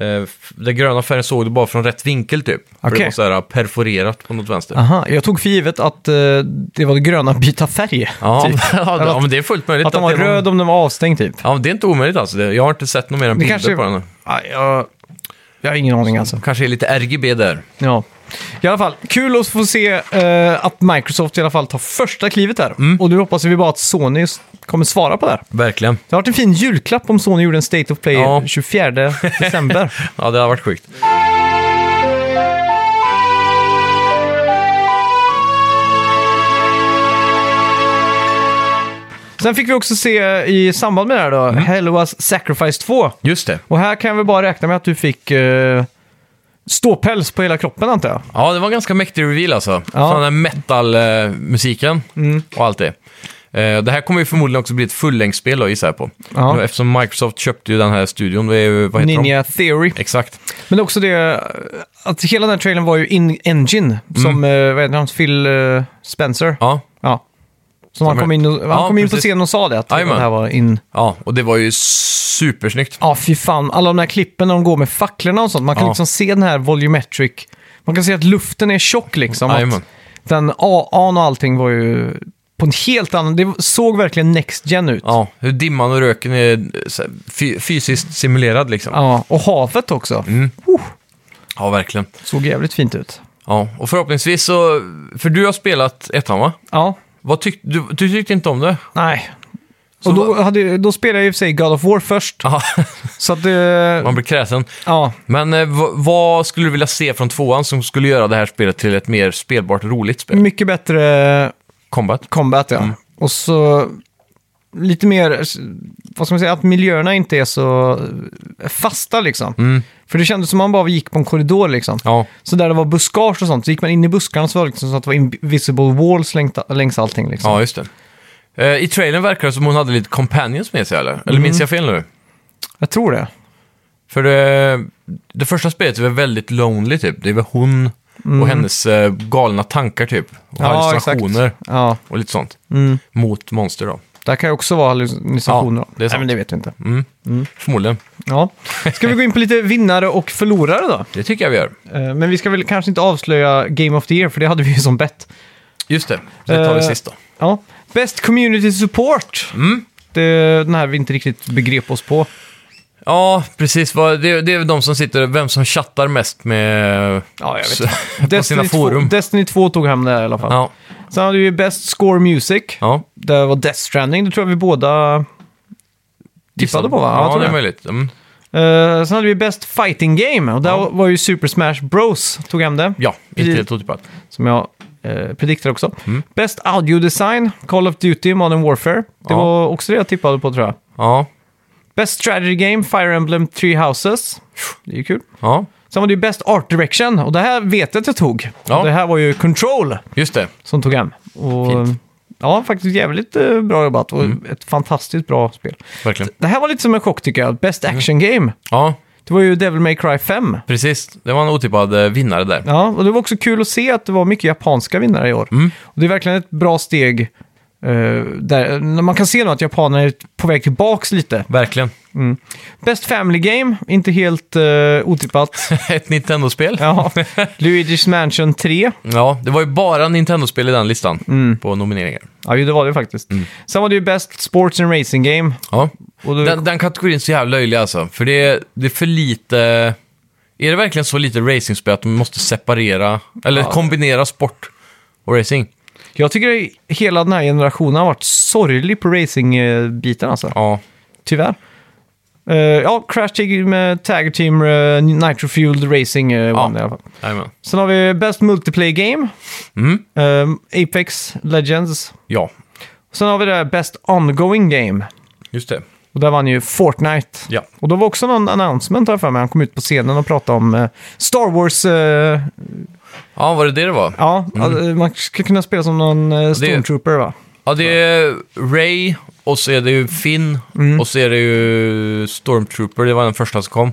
Eh, f- den gröna färgen såg du bara från rätt vinkel typ. För Okej. Ah. det var så här perforerat på något vänster. Aha. Jag tog för givet att eh, det var det gröna byta färg. Ja, typ. ja, det- ja, men det är fullt möjligt. Att den var det röd om den var avstängd typ. Ja, men det är inte omöjligt alltså. Det, jag har inte sett någon mer än Det bilder kanske- på den. Ja, jag, jag har ingen aning alltså. Kanske är lite RGB där. Ja. I alla fall, kul att få se eh, att Microsoft i alla fall tar första klivet här. Mm. Och nu hoppas vi bara att Sony s- kommer svara på det här. Verkligen. Det har varit en fin julklapp om Sony gjorde en State of Play Ja. 24 december. Ja, det har varit sjukt. Sen fick vi också se eh, i samband med det här då, Mm. Hellas Sacrifice 2. Just det. Och här kan vi bara räkna med att du fick eh, ståpäls på hela kroppen antar jag. Ja, det var en ganska mäktig reveal alltså. Ja. Mm. Ja. Den här metal-musiken och allt det. Eh, Det här kommer ju förmodligen också bli ett fullängdsspel då, gissar jag på. Ja. Eftersom Microsoft köpte ju den här studion. Det är ju, vad heter de? Ninja Theory. Exakt. Men också det eh, att hela den här trailern var ju in-engine, som eh, vad heter han, Phil eh, Spencer. Mm. Ja. Ja. Som han Stämmer. kom in, och, han Ja, kom in på precis. scen och sa det, att Jajamän. det här var in... ja, och det var ju supersnyggt. Ja, fy fan. Alla de där klippen när de går med facklorna och sånt. Man kan Ja. liksom se den här volumetric... Man kan se att luften är tjock liksom. Att Jajamän. den AA'n och allting var ju på en helt annan... Det såg verkligen next gen ut. Ja, hur dimman och röken är eh, så här fy- fysiskt simulerad liksom. Ja, Ja, och havet också. Mm. verkligen. Såg jävligt fint ut. Ja, och förhoppningsvis så... För du har spelat ettan, va? Ja, Vad tyck, du, du tyckte inte om det? nej. Så och då, vad- hade, ju- då spelade jag i och för sig God of War först. Ja, Så att det... man blir kräsen. Ja, Men eh, v- vad skulle du vilja se från tvåan som skulle göra det här spelet till ett mer spelbart, roligt spel? mycket bättre Combat? combat, ja. Mm. Och så lite mer, vad ska man säga, att miljöerna inte är så fasta liksom. För det kändes som man bara gick på en korridor liksom. Mm. Ja, Så där det var buskage och sånt, så gick man in i buskarna så var det liksom så att det var invisible walls längs, längs allting liksom. ja just det. Eh, I trailern verkar det som hon hade lite companions med sig, eller? Eller minns jag fel nu? Jag tror det. För det, det första spelet är väl väldigt lonely typ. Det är väl hon Mm. och hennes eh, galna tankar typ. Och hallucinationer Ja, och lite sånt. Mm. Mot monster då. där kan ju också vara hallucinationer. Ja, det är Nej, sant. Mm. men det vet vi inte. Förmodligen. Ja. Ska vi gå in på lite vinnare och förlorare då? Det tycker jag vi gör. Eh, Men vi ska väl kanske inte avslöja Game of the Year, för det hade vi ju som bett. Just det. Det tar vi Eh, sist då. Ja. Best community support. Mm. Det, den här vi inte riktigt begrep oss på. Ja, precis. Vad- Det, det är väl de som sitter, vem som chattar mest med... Ja, jag vet på sina forum. Destiny 2 tog hem det här i alla fall. Ja. Sen hade vi ju Best Score Music. Ja. Där var Death Stranding, det tror jag vi båda tippade på va? Ja, jag tror det är möjligt. Mm. Eh, sen hade vi Best Fighting Game och där Ja. var ju Super Smash Bros tog hem det. Ja, inte Precis. helt otippat. Som jag uh, prediktade också. Mm. Best Audio Design, Call of Duty, Modern Warfare. Det Ja. var också det jag tippade på tror jag. Ja, Best Strategy Game, Fire Emblem Three Houses. Det är ju kul. ja, Sen var det ju Best Art Direction och det här vet jag att jag tog. Ja. Det här var ju Control just det. som tog hem. Och, Fint. Mm. Ja, faktiskt jävligt eh, bra jobbat och ett fantastiskt bra spel. Verkligen. Mm. Det här var lite som en chock tycker jag. Best Action Game. Ja, Det var ju Devil May Cry 5. precis. Det var en otippad eh, vinnare där. Ja, och det var också kul att se att det var mycket japanska vinnare i år. Mm. Och det är verkligen ett bra steg. eh, där, när man kan se nu att japanerna är på väg tillbaks lite. Verkligen. Best Family Game, inte helt eh, otippat. Ett Nintendo-spel. Ja. ja. Luigi's Mansion 3. det var ju bara Nintendo-spel i den listan på nomineringar. Ja, ju, det var det faktiskt. Mm. Sen var det ju Best Sports and Racing Game. Ja. Och då, Den, den kategorin är så jävla löjlig alltså. För det är, det är för lite... Är det verkligen så lite racingspel att de måste separera, eller kombinera sport och racing? Jag tycker att hela den här generationen har varit sorglig på racing-biten alltså. Ja, Tyvärr. Eh, ja, Crash Team, eh, Tag Team, eh, Nitro Fueled Racing uh, vann det i alla fall. Jajamän. Sen har vi Best Multiplayer Game. Mm. Eh, Apex Legends. Ja, Sen har vi det här Best Ongoing Game. just det. Och där vann ju Fortnite. Ja. Och då var också någon announcement här för mig. Han kom ut på scenen och pratade om eh, Star Wars. eh, Ja, var det det det var? ja, alltså, man ska kunna spela som någon eh, Stormtrooper va? Ja, det är Ray och så är det ju Finn och så är det ju Stormtrooper, det var den första som kom.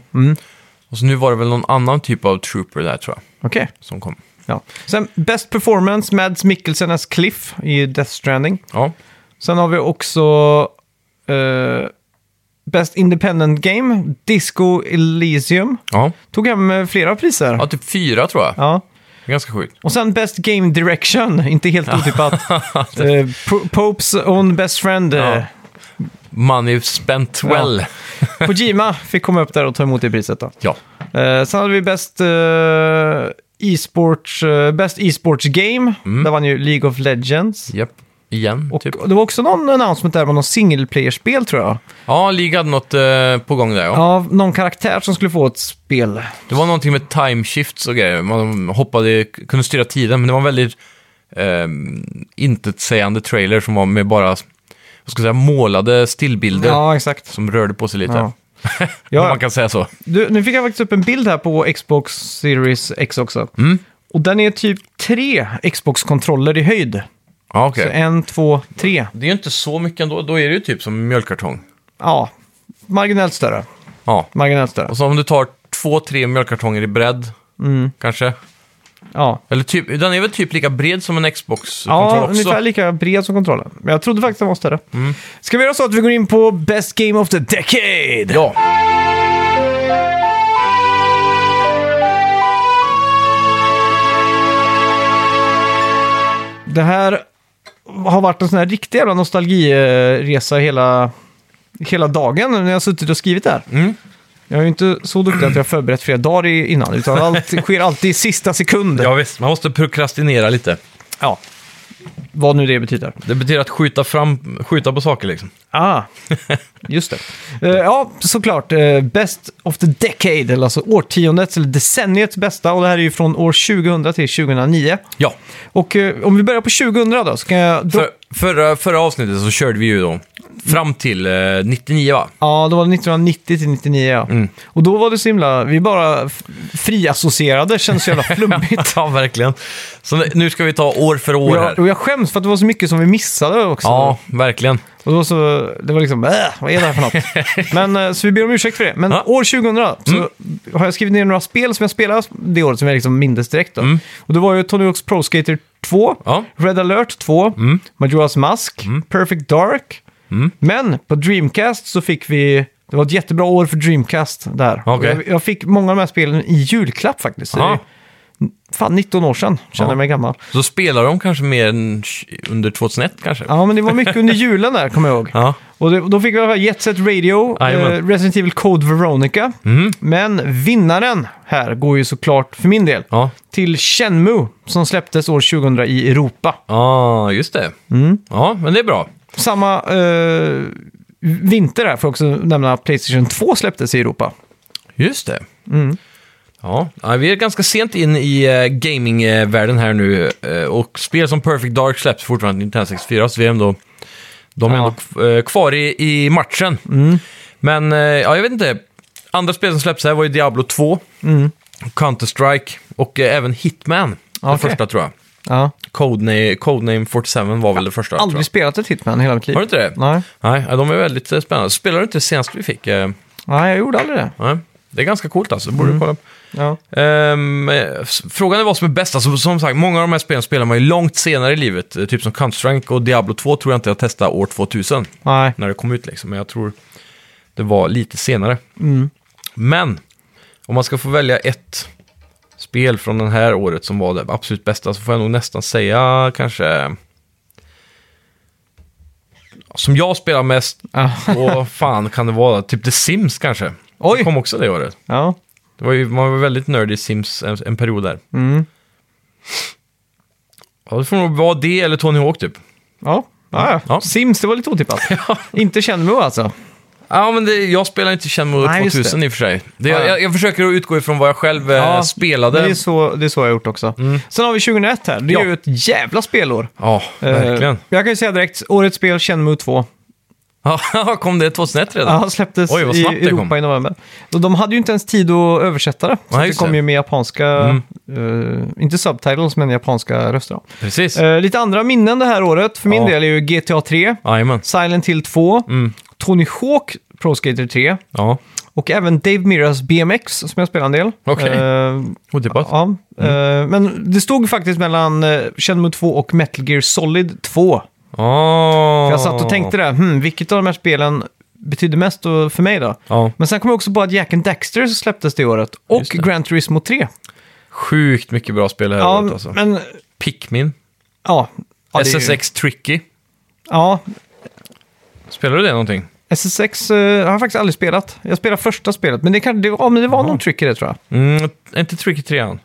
Och så nu var det väl någon annan typ av trooper där tror jag, Okej. som kom. Ja. Sen Best Performance, Mads Mikkelsen as Cliff i Death Stranding. Ja, Sen har vi också eh, Best Independent Game, Disco Elysium. ja. Tog hem eh, flera priser. ja typ fyra tror jag. Ja. Ganska sjukt. Och sen Best Game Direction, inte helt otippat. Eh, P- Popes Own Best Friend. eh, Money spent well. Kojima fick komma upp där och ta emot det priset då. Ja, Eh, sen hade vi Best eh, E-sports, eh, Best E-sports Game. Där vann ju League of Legends. japp. Igen, Och Mm. typ. det var också någon announcement där med någon single player-spel tror jag. Ja, League hade något eh, på gång där ja. Ja, någon karaktär som skulle få ett spel. Det var någonting med time shifts och grejer. Man hoppade, kunde styra tiden, men det var en väldigt eh, intetsägande trailer som var med bara, vad ska jag säga, målade stillbilder. Ja, exakt. som rörde på sig lite. Ja. Om Ja, man kan säga så. du, nu fick jag faktiskt upp en bild här på Xbox Series X också. Mm. Och den är typ tre Xbox-kontroller i höjd. Ja, okej. Så en, två, tre. Det är ju inte så mycket ändå. Då är det ju typ som mjölkkartong. Ja, marginellt större. Ja. Marginellt större. Och så om du tar två, tre mjölkkartonger i bredd, Mm. kanske. Ja, Eller typ, den är väl typ lika bred som en Xbox-kontroll ja också? Mm. ungefär lika bred som kontrollen. Men jag trodde faktiskt den var större. Ska vi göra så att vi går in på Best Game of the Decade? Ja, Det här har varit en sån här riktig jävla nostalgiresa hela, hela dagen när jag har suttit och skrivit det här. Mm. Jag är ju inte så duktig att jag har förberett flera dagar i- innan, utan allt sker alltid i sista sekund. ja, visst. Man måste prokrastinera lite. Ja. Vad nu det betyder. Det betyder att skjuta, fram, skjuta på saker liksom. Ah, just det. Eh, ja, såklart. eh, best of the decade, eller alltså årtiondets eller decenniets bästa. Och det här är ju från år 2000 till 2009. Ja, Och eh, om vi börjar på 2000 då, så kan jag... Då, för, förra, förra avsnittet så körde vi ju då fram till eh, 99 va? Ja, då var det 1990 till 99 ja. Mm. Och då var det så himla... Vi bara f- friassocierade, kändes så jävla flummigt. ja, verkligen. Så nu- nu ska vi ta år för Och år jag, här. och jag skäms för att det var så mycket som vi missade också. Ja, verkligen. Och då så, det var liksom, äh, vad är det här för något? Men, eh, så vi ber om ursäkt för det. Men Ja. Mm. år 2000 så har jag skrivit ner några spel som jag spelade det året som jag liksom mindes direkt. Då. Och det var ju Tony Hawk's Pro Skater 2, Mm. Ja. Mm. Red Alert 2, Majora's Mask, Perfect Dark. Men på Dreamcast så fick vi, det var ett jättebra år för Dreamcast där. Okej. Och Jag, jag fick många av de här spelen i julklapp faktiskt. Så Ja. det- fan 19 år sedan, känner Ja. mig gammal. Så spelar de kanske mer än tj- under 2001 kanske? Ja, men det var mycket under julen där, kommer jag ihåg. Ja. Och det, då fick vi höra Jet Set Radio, Jajamän. Mhm. eh, Resident Evil Code Veronica. Men vinnaren här går ju såklart, för min del, Ja, till Shenmue som släpptes år 2000 i Europa. ah, just det. Mm. Ja, men det är bra. Samma eh, vinter här får jag också nämna att Playstation 2 släpptes i Europa. Just det. Mm. Ja, ja, vi är ganska sent in i eh, gamingvärlden här nu eh, och spel som Perfect Dark släpps fortfarande till Nintendo 64, så vi är ändå, de är Ja. Mm. ändå k- eh, kvar i, i matchen. Men eh, ja, jag vet inte, andra spel som släpps här var ju Diablo 2, Mm. Counter-Strike och eh, även Hitman, den Okej. första tror jag. Ja. Codename, Codename 47 var väl det första. tror Aldrig jag. spelat ett Hitman i hela mitt liv. Har du inte det? Nej. Nej, ja, de är väldigt eh, spännande. Spelar du inte det senaste vi fick? Eh, Nej, jag gjorde aldrig det. Nej. Det är ganska coolt alltså, det Mm. borde du kolla. Ja. Ehm, eh, s- frågan är vad som är bäst. Alltså, som sagt, många av de här spelen spelar man ju långt senare i livet. Eh, Typ som Counter-Strike och Diablo 2 tror jag inte jag testade år 2000 Nej. när det kom ut. Liksom. Men jag tror det var lite senare. Men om man ska få välja ett spel från det här året som var det absolut bästa så får jag nog nästan säga kanske... Som jag spelar mest, och fan kan det vara? Typ The Sims kanske. Oj. Det kom också det året. Ja. Det var ju, man var väldigt nörd i Sims en, en period där. Mm. Ja, det får nog vara det eller Tony Hawk typ. Ja. Ja, ja. Ja. Sims, det var lite otippat. Inte Shenmue alltså. Ja, men det, jag spelar inte Shenmue Nej, just 2000 i och för sig. Det, Ja, ja. jag, jag försöker att utgå ifrån vad jag själv eh, Ja, spelade. Mm. Det är, så, det är så jag har gjort också. Sen har vi 2001 här. Det är Ja. ju ett jävla spelår. Ja, verkligen. Eh, jag kan ju säga direkt, årets spel Shenmue 2. Ja, kom det 2001 redan? Ja, släpptes Oj, vad i snabbt det kom. Europa i november. Och de hade ju inte ens tid att översätta det. Så Nej, det just kom det. Mm. ju med japanska, eh, inte subtitles, men japanska röster. då. Precis. Eh, lite andra minnen det här året för min Ja. Mm. del är ju GTA 3, Jajamän. Silent Hill 2, Tony Hawk Pro Skater 3 Ja, och även Dave Mirras BMX som jag spelar en del. Okej. Eh, otippat. ja, Mm. eh, men det stod faktiskt mellan eh, Shenmue 2 och Metal Gear Solid 2. Oh. Jag satt och tänkte det, hmm, vilket av de här spelen betyder mest då för mig då? Ja. Men sen kom jag också på att Jack and Daxter släpptes det året och Just det. Gran Turismo 3. Sjukt mycket bra spel det här Ja, året alltså. men... Pikmin. Ja. ja det är ju- SSX Tricky. Ja, Spelar du det någonting? SSX eh, har jag faktiskt aldrig spelat. Jag spelade första spelet, men det, kan, det, ja, men det var någon trick i det tror jag. Mm, är inte Tricky 3 än?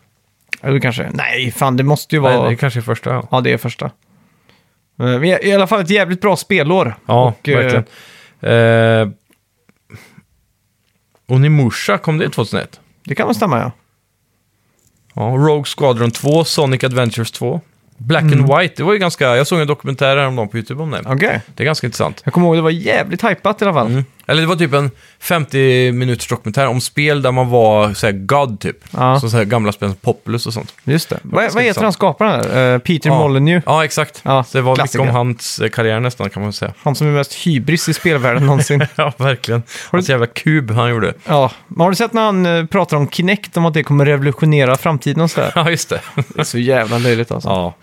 Eller kanske, nej fan det måste ju vara... Nej, det kanske är första. Ja, Ja, det är första. Eh, Men i, i alla fall ett jävligt bra spelår. ja Och, eh, verkligen. Eh, Onimusha, kom det 2001? Det kan väl stämma ja. Ja, Rogue Squadron 2, Sonic Adventures 2. Black and White, det var ju ganska... Jag såg en dokumentär häromdagen på YouTube om det. Okej. Det är ganska intressant. Jag kommer ihåg det var jävligt hypat i alla fall. Eller det var typ en 50 minuters dokumentär om spel där man var såhär God typ. Ja. Så, så här gamla spel som Populous och sånt. Just det. Vad, vad heter intressant. han skaparen där? Eh, Peter Ja. Molyneux. Ja, exakt. Ja, så det var klassiker. mycket om hans eh, karriär nästan kan man säga. Han som är mest hybris i spelvärlden någonsin. Ja, verkligen. Hans jävla kub han gjorde. ja. Men har du sett när han eh, pratar om Kinect, om att det kommer revolutionera framtiden och sådär? Ja, just det. Det är så jävla löjligt alltså. Ja.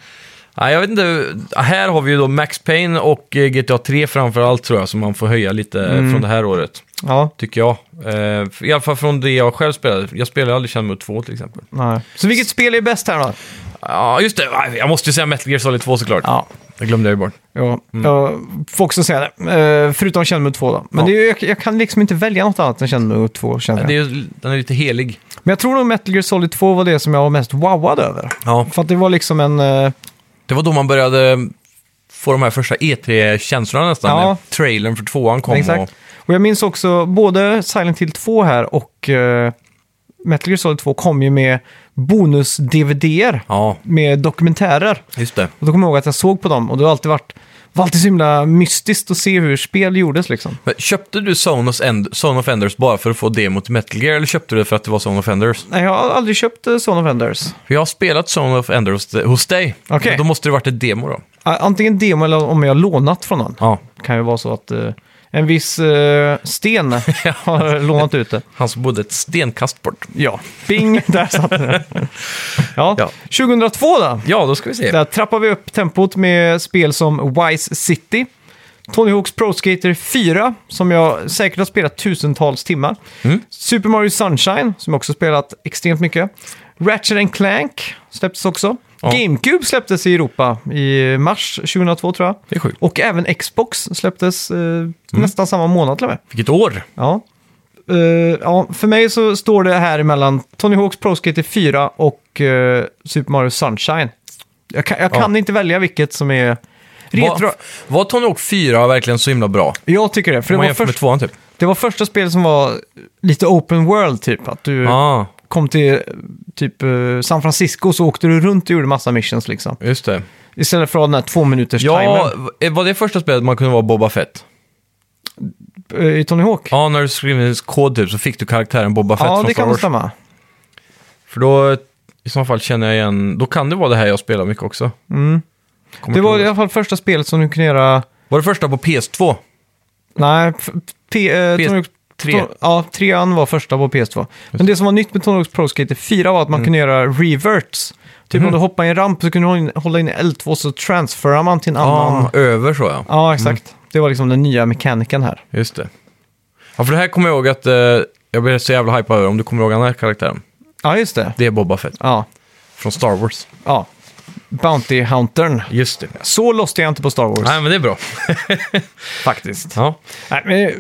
Nej, jag vet inte. Här har vi ju då Max Payne och eh, GTA 3 framför allt tror jag, som man får höja lite eh, Mm. från det här året. Ja, Tycker jag. Eh, I alla fall från det jag själv spelade. Jag spelade aldrig Shenmue 2 till exempel. nej. Så vilket spel är bäst här då? Ja, just det. Nej, Jag måste ju säga Metal Gear Solid 2 såklart. Ja. Mm. Det glömde jag ju bort. Ja, jag får också säga det. Eh, förutom Shenmue 2 då. Men Ja. det är, ju- jag, jag kan liksom inte välja något annat än Shenmue 2 känner jag. Det är, ju- den är lite helig. Men jag tror nog Metal Gear Solid 2 var det som jag var mest wowad över. Ja. För att det var liksom en... eh, Det var då man började få de här första E3-känslorna nästan. Ja. när Trailern för tvåan kom. Och, exakt. Och jag minns också både Silent Hill 2 här och eh, Metal Gear Solid 2 kom ju med bonus-DVD-er ja, med dokumentärer. just det. Och då kommer jag ihåg att jag såg på dem och det har alltid varit, var alltid så himla mystiskt att se hur spel gjordes liksom. Men köpte du Sonos End, Zone of Enders bara för att få demo till Metal Gear eller köpte du det för att det var Zone of Enders? Nej, jag har aldrig köpt eh, Son of Enders. För jag har spelat Zone of Enders hos- hos dig. Okej. Men Då måste det varit ett demo då. A- Antingen demo eller om jag har lånat från någon. Ja. Det kan ju vara så att eh, en viss eh, sten har lånat ut det. Han som bodde ett stenkast bort. Ja, bing, där satt den. Ja. Ja. 2002 då? Ja, då ska vi se. Där trappar vi upp tempot med spel som Wise City, Tony Hawks Pro Skater 4, som jag säkert har spelat tusentals timmar. Mm. Super Mario Sunshine, som jag också spelat extremt mycket. Ratchet and Clank släpptes också. Ja. GameCube släpptes i Europa i mars 2002 tror jag. Det är sjukt. Mm. Och även Xbox släpptes eh, nästan samma månad till och med. Vilket år! Ja. Eh, ja, för mig så står det här emellan Tony Hawks Pro Skater 4 och eh, Super Mario Sunshine. Jag kan, jag kan inte välja vilket som är retro. Var, var Tony Hawk 4 verkligen så himla bra? Jag tycker det, för Om det man var, jämför med först, Mm. tvåan typ. det var första spelet som var lite open world typ. Att du Ja, kom till eh, typ eh, San Francisco så åkte du runt och gjorde massa missions liksom. just det. Istället för att ha den här två minuters Ja, eh, timern var det första spelet man kunde vara Boba Fett? eh, i Tony Hawk. Ja, när du skrev en kod typ så fick du karaktären Boba Fett Ja, från det Star kan Wars. stämma. För då, i så fall känner jag igen, då kan det vara det här jag spelar mycket också. Kommer Mm. Det inte var ihåg i alla fall första spelet som du kunde göra... Var det första på PS2? Nej, f- P, eh, PS3. Tony Hawk's- Ton- Ja, trean var första på PS2. Men det Mm. som var nytt med Tony Hawk's Pro Skater 4 var att man kunde göra reverts. Typ om du hoppade i en ramp så kunde du hålla in- hålla in L2 så transferar man till en annan. Ja, över så ja. Ja, exakt. Det var liksom den nya mekaniken här. Just det. Ja, för det här kommer jag ihåg att eh, jag blev så jävla hypad över, om du kommer ihåg den här karaktären. Ja, just det. Det är Boba Fett Ja, från Star Wars. ja. Bounty Huntern. Just det. Så lost är jag inte på Star Wars, Nej, men det är bra. faktiskt. Ja. Nej, men, eh,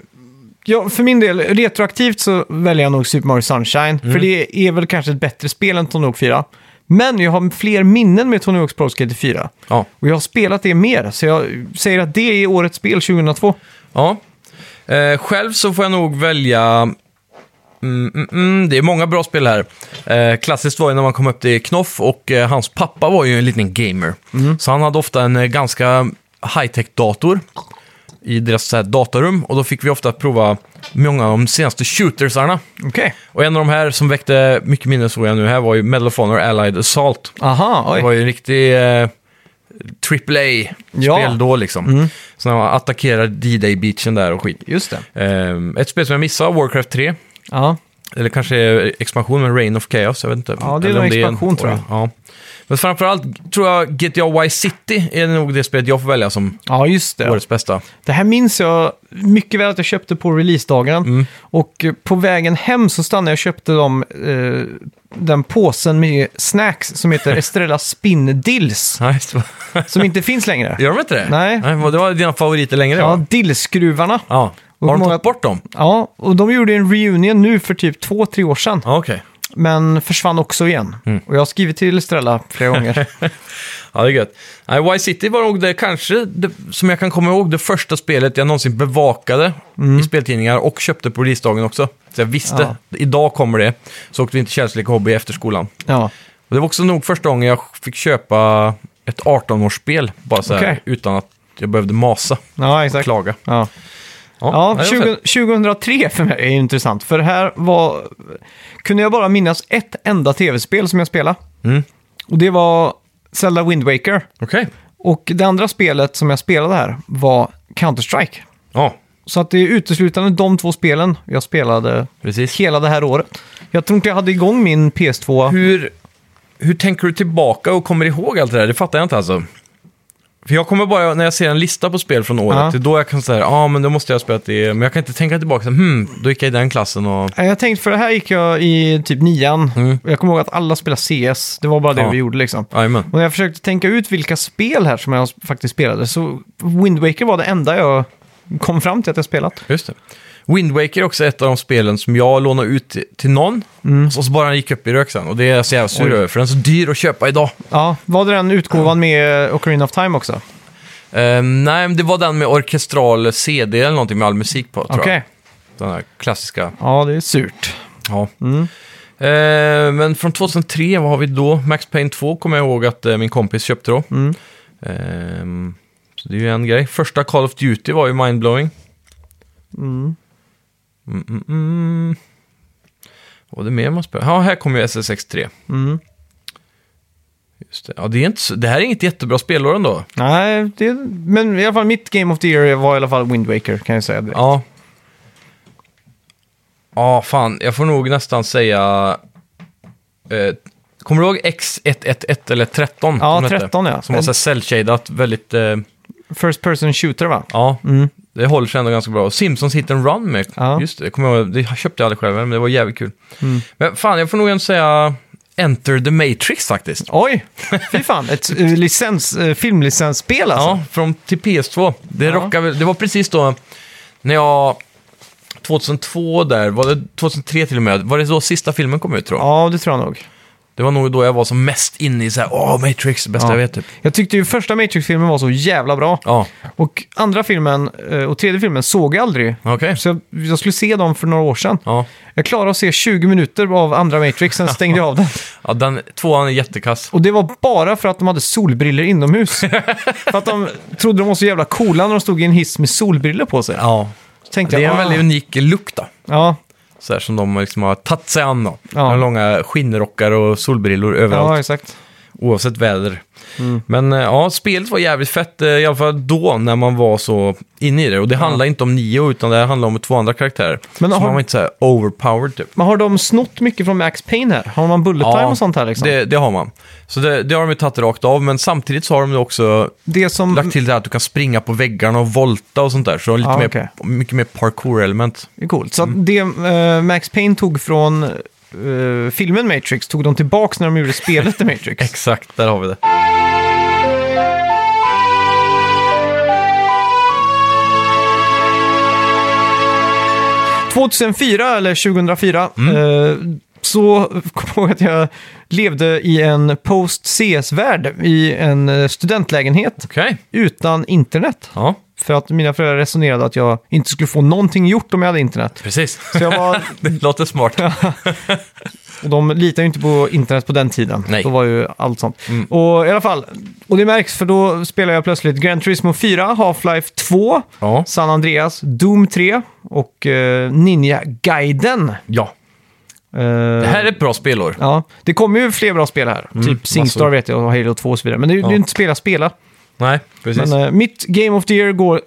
ja, för min del, retroaktivt så väljer jag nog Super Mario Sunshine. Mm. För det är väl kanske ett bättre spel än Tony Hawk 4. Men jag har fler minnen med Tony Hawk's Pro Skater 4. Ja. Och jag har spelat det mer, så jag säger att det är årets spel 2002. ja. Eh, själv så får jag nog välja... Mm, mm, mm, det är många bra spel här. Eh, klassiskt var ju när man kom upp till Knoff och eh, hans pappa var ju en liten gamer. Så han hade ofta en eh, ganska high-tech-dator i deras så här, datarum. Och då fick vi ofta prova många av de senaste shootersarna. Okej. Och en av de här som väckte mycket minne såg jag nu här var ju Medal of Honor Allied Assault. Aha, Det oj. var ju en riktig eh, AAA-spel Ja. Mm. då liksom. Så när man attackerar D-Day-beachen där och skit. Just det. Ehm, ett spel som jag missade, Warcraft 3. Ja. Eller kanske expansion med Reign of Chaos, jag vet inte. Ja, det är Eller nog om en- expansion, tror jag. Ja. Men framförallt tror jag GTA Y City är nog det spelet jag får välja som ja, just det. årets bästa. Det här minns jag mycket väl att jag köpte på releasedagen. Mm. Och eh, på vägen hem så stannade jag och köpte de, eh, den påsen med snacks som heter Estrella Spin Dills. Nej, just det. Som inte finns längre. Gör de inte det? Nej. vad- Det var dina favoriter längre? va? Ja, dillskruvarna. ja. Och Har de många- tagit bort dem? Ja, och de gjorde en reunion nu för typ två, tre år sedan. Ja, okej. Men försvann också igen. Och jag har skrivit till Estrella flera gånger. Ja, det är gött. Nej, Y City var nog det kanske, det, som jag kan komma ihåg, det första spelet jag någonsin bevakade Mm. i speltidningar och köpte på releasedagen också. Så jag visste, idag kommer det. Så åkte vi inte Kärlslek och Hobby efter skolan. Ja, Och det var också nog första gången jag fick köpa ett 18-årsspel, bara så här, Okej. utan att jag behövde masa ja och exakt. klaga. Ja. nej, Ja, det var 20, fett. 2003 för mig är ju intressant. För här var, kunde jag bara minnas ett enda tv-spel som jag spelade. Mm. Och det var Zelda Wind Waker. Okej. Och det andra spelet som jag spelade här var Counter-Strike. Ja, Så att det är uteslutande de två spelen jag spelade precis. hela det här året. Jag tror inte jag hade igång min PS2. Hur, hur tänker du tillbaka och kommer ihåg allt det där? Det fattar jag inte alltså. För jag kommer bara, när jag ser en lista på spel från året, Ja. det är då jag kan säga, ja ah, men då måste jag ha spelat det, men jag kan inte tänka tillbaka, så, hmm, då gick jag i den klassen och... Nej, Jag tänkte, för det här gick jag i typ nian. Och jag kommer ihåg att alla spelade CS. Det var bara det Mm. Ja. vi gjorde liksom. Jajamän. Och när jag försökte tänka ut vilka spel här som jag faktiskt spelade så Wind Waker var det enda jag kom fram till att jag spelat. Just det. Wind Waker är också ett av de spelen som jag lånade ut till någon, Mm. och så bara den gick upp i rök sen. Och det är jag så jävla sur över, för den är så dyr att köpa idag. Ja, var det den utgåvan med Ocarina of Time också? Ehm, nej, men det var den med orkestral CD eller någonting med all musik på, tror Okej. jag. Den här klassiska. Ja, det är surt. Ja. Eh, men från 2003, vad har vi då? Max Payne 2 kommer jag ihåg att eh, min kompis köpte då. Ehm, så det är ju en grej. Första Call of Duty var ju mindblowing. Mm. Mm, mm, mm. Vad är det mer man spelar? Ja, här kommer ju SSX 3. Mm. Just det. Ja, det, är inte, så- det här är inget jättebra spelår ändå. Nej, det, men i alla fall mitt Game of the Year var i alla fall Wind Waker kan jag säga. direkt. Ja. Ja, fan. Jag får nog nästan säga... Eh, kommer du ihåg X111 eller 13? Ja, som det hette? 13, ja. Som var så här cell-shadat, väldigt... Eh, First person shooter va? Ja, det håller sig ändå ganska bra. Simpsons Hit and Run med. Mm. Ja. Mm. Just det, kommer jag, ihåg. det köpte jag aldrig själv, men det var jävligt kul. Men fan, jag får nog ändå säga Enter the Matrix faktiskt. Oj, fy fan. Ett eh, licens, eh, filmlicensspel alltså. Ja, från till PS2. Det, Ja. rockar väl, det var precis då när jag... 2002 där, var det 2003 till och med, var det då sista filmen kom ut tror jag? Ja, det tror jag nog. Det var nog då jag var som mest inne i så här, åh, Matrix, det bästa Ja. jag vet typ. Jag tyckte ju första Matrix-filmen var så jävla bra. Ja, Och andra filmen eh, och tredje filmen såg jag aldrig. okej. Så jag, jag skulle se dem för några år sedan. Ja. Jag klarade att se 20 minuter av andra Matrix, sen stängde jag av den. ja, den tvåan är jättekass. Och det var bara för att de hade solbriller inomhus. för att de trodde de var så jävla coola när de stod i en hiss med solbriller på sig. Ja. Så tänkte Det är jag, "Ah, en väldigt unik look då. ja, Så här som de liksom har tagit sig an då. Ja. De har långa skinnrockar och solbrillor överallt, ja, exakt. oavsett väder. Mm. Men eh, ja, spelet var jävligt fett, eh, i alla fall då, när man var så inne i det. Och det handlar inte om Nio, utan det handlar om två andra karaktärer. Men Men så har- man var inte så här overpowered typ. Men har de snott mycket från Max Payne här? Har man bullet time och sånt här liksom? Det, det, det har man. Så det, det har de ju tagit rakt av, men samtidigt så har de ju också Mm. som... lagt till det här att du kan springa på väggarna och volta och sånt där. Så de har lite Ja, Ah, mer, okej. mycket mer parkour-element. Det är coolt. Så att det eh, Max Payne tog från eh, filmen Matrix tog de tillbaka när de gjorde spelet The Matrix. Exakt, där har vi det. Exakt. 2004 eller 2004 eh, så kom jag ihåg att jag levde i en post-CS-värld i en eh, studentlägenhet Okej, utan internet. ja, För att mina föräldrar resonerade att jag inte skulle få någonting gjort om jag hade internet. precis. Så jag var, det låter smart. och de litade ju inte på internet på den tiden. Nej. Mm. Då var ju allt sånt. Och i alla fall, och det märks för då spelar jag plötsligt Gran Turismo 4, Half-Life 2, Ja. San Andreas, Doom 3 och eh, Ninja Gaiden. ja, Eh, det här är ett bra spelår. Ja, det kommer ju fler bra spel här. typ Singstar massor. vet jag och Halo 2 och så vidare. Men det är ju det är ju inte spela spela. Nej, precis. Men eh, mitt Game of the Year går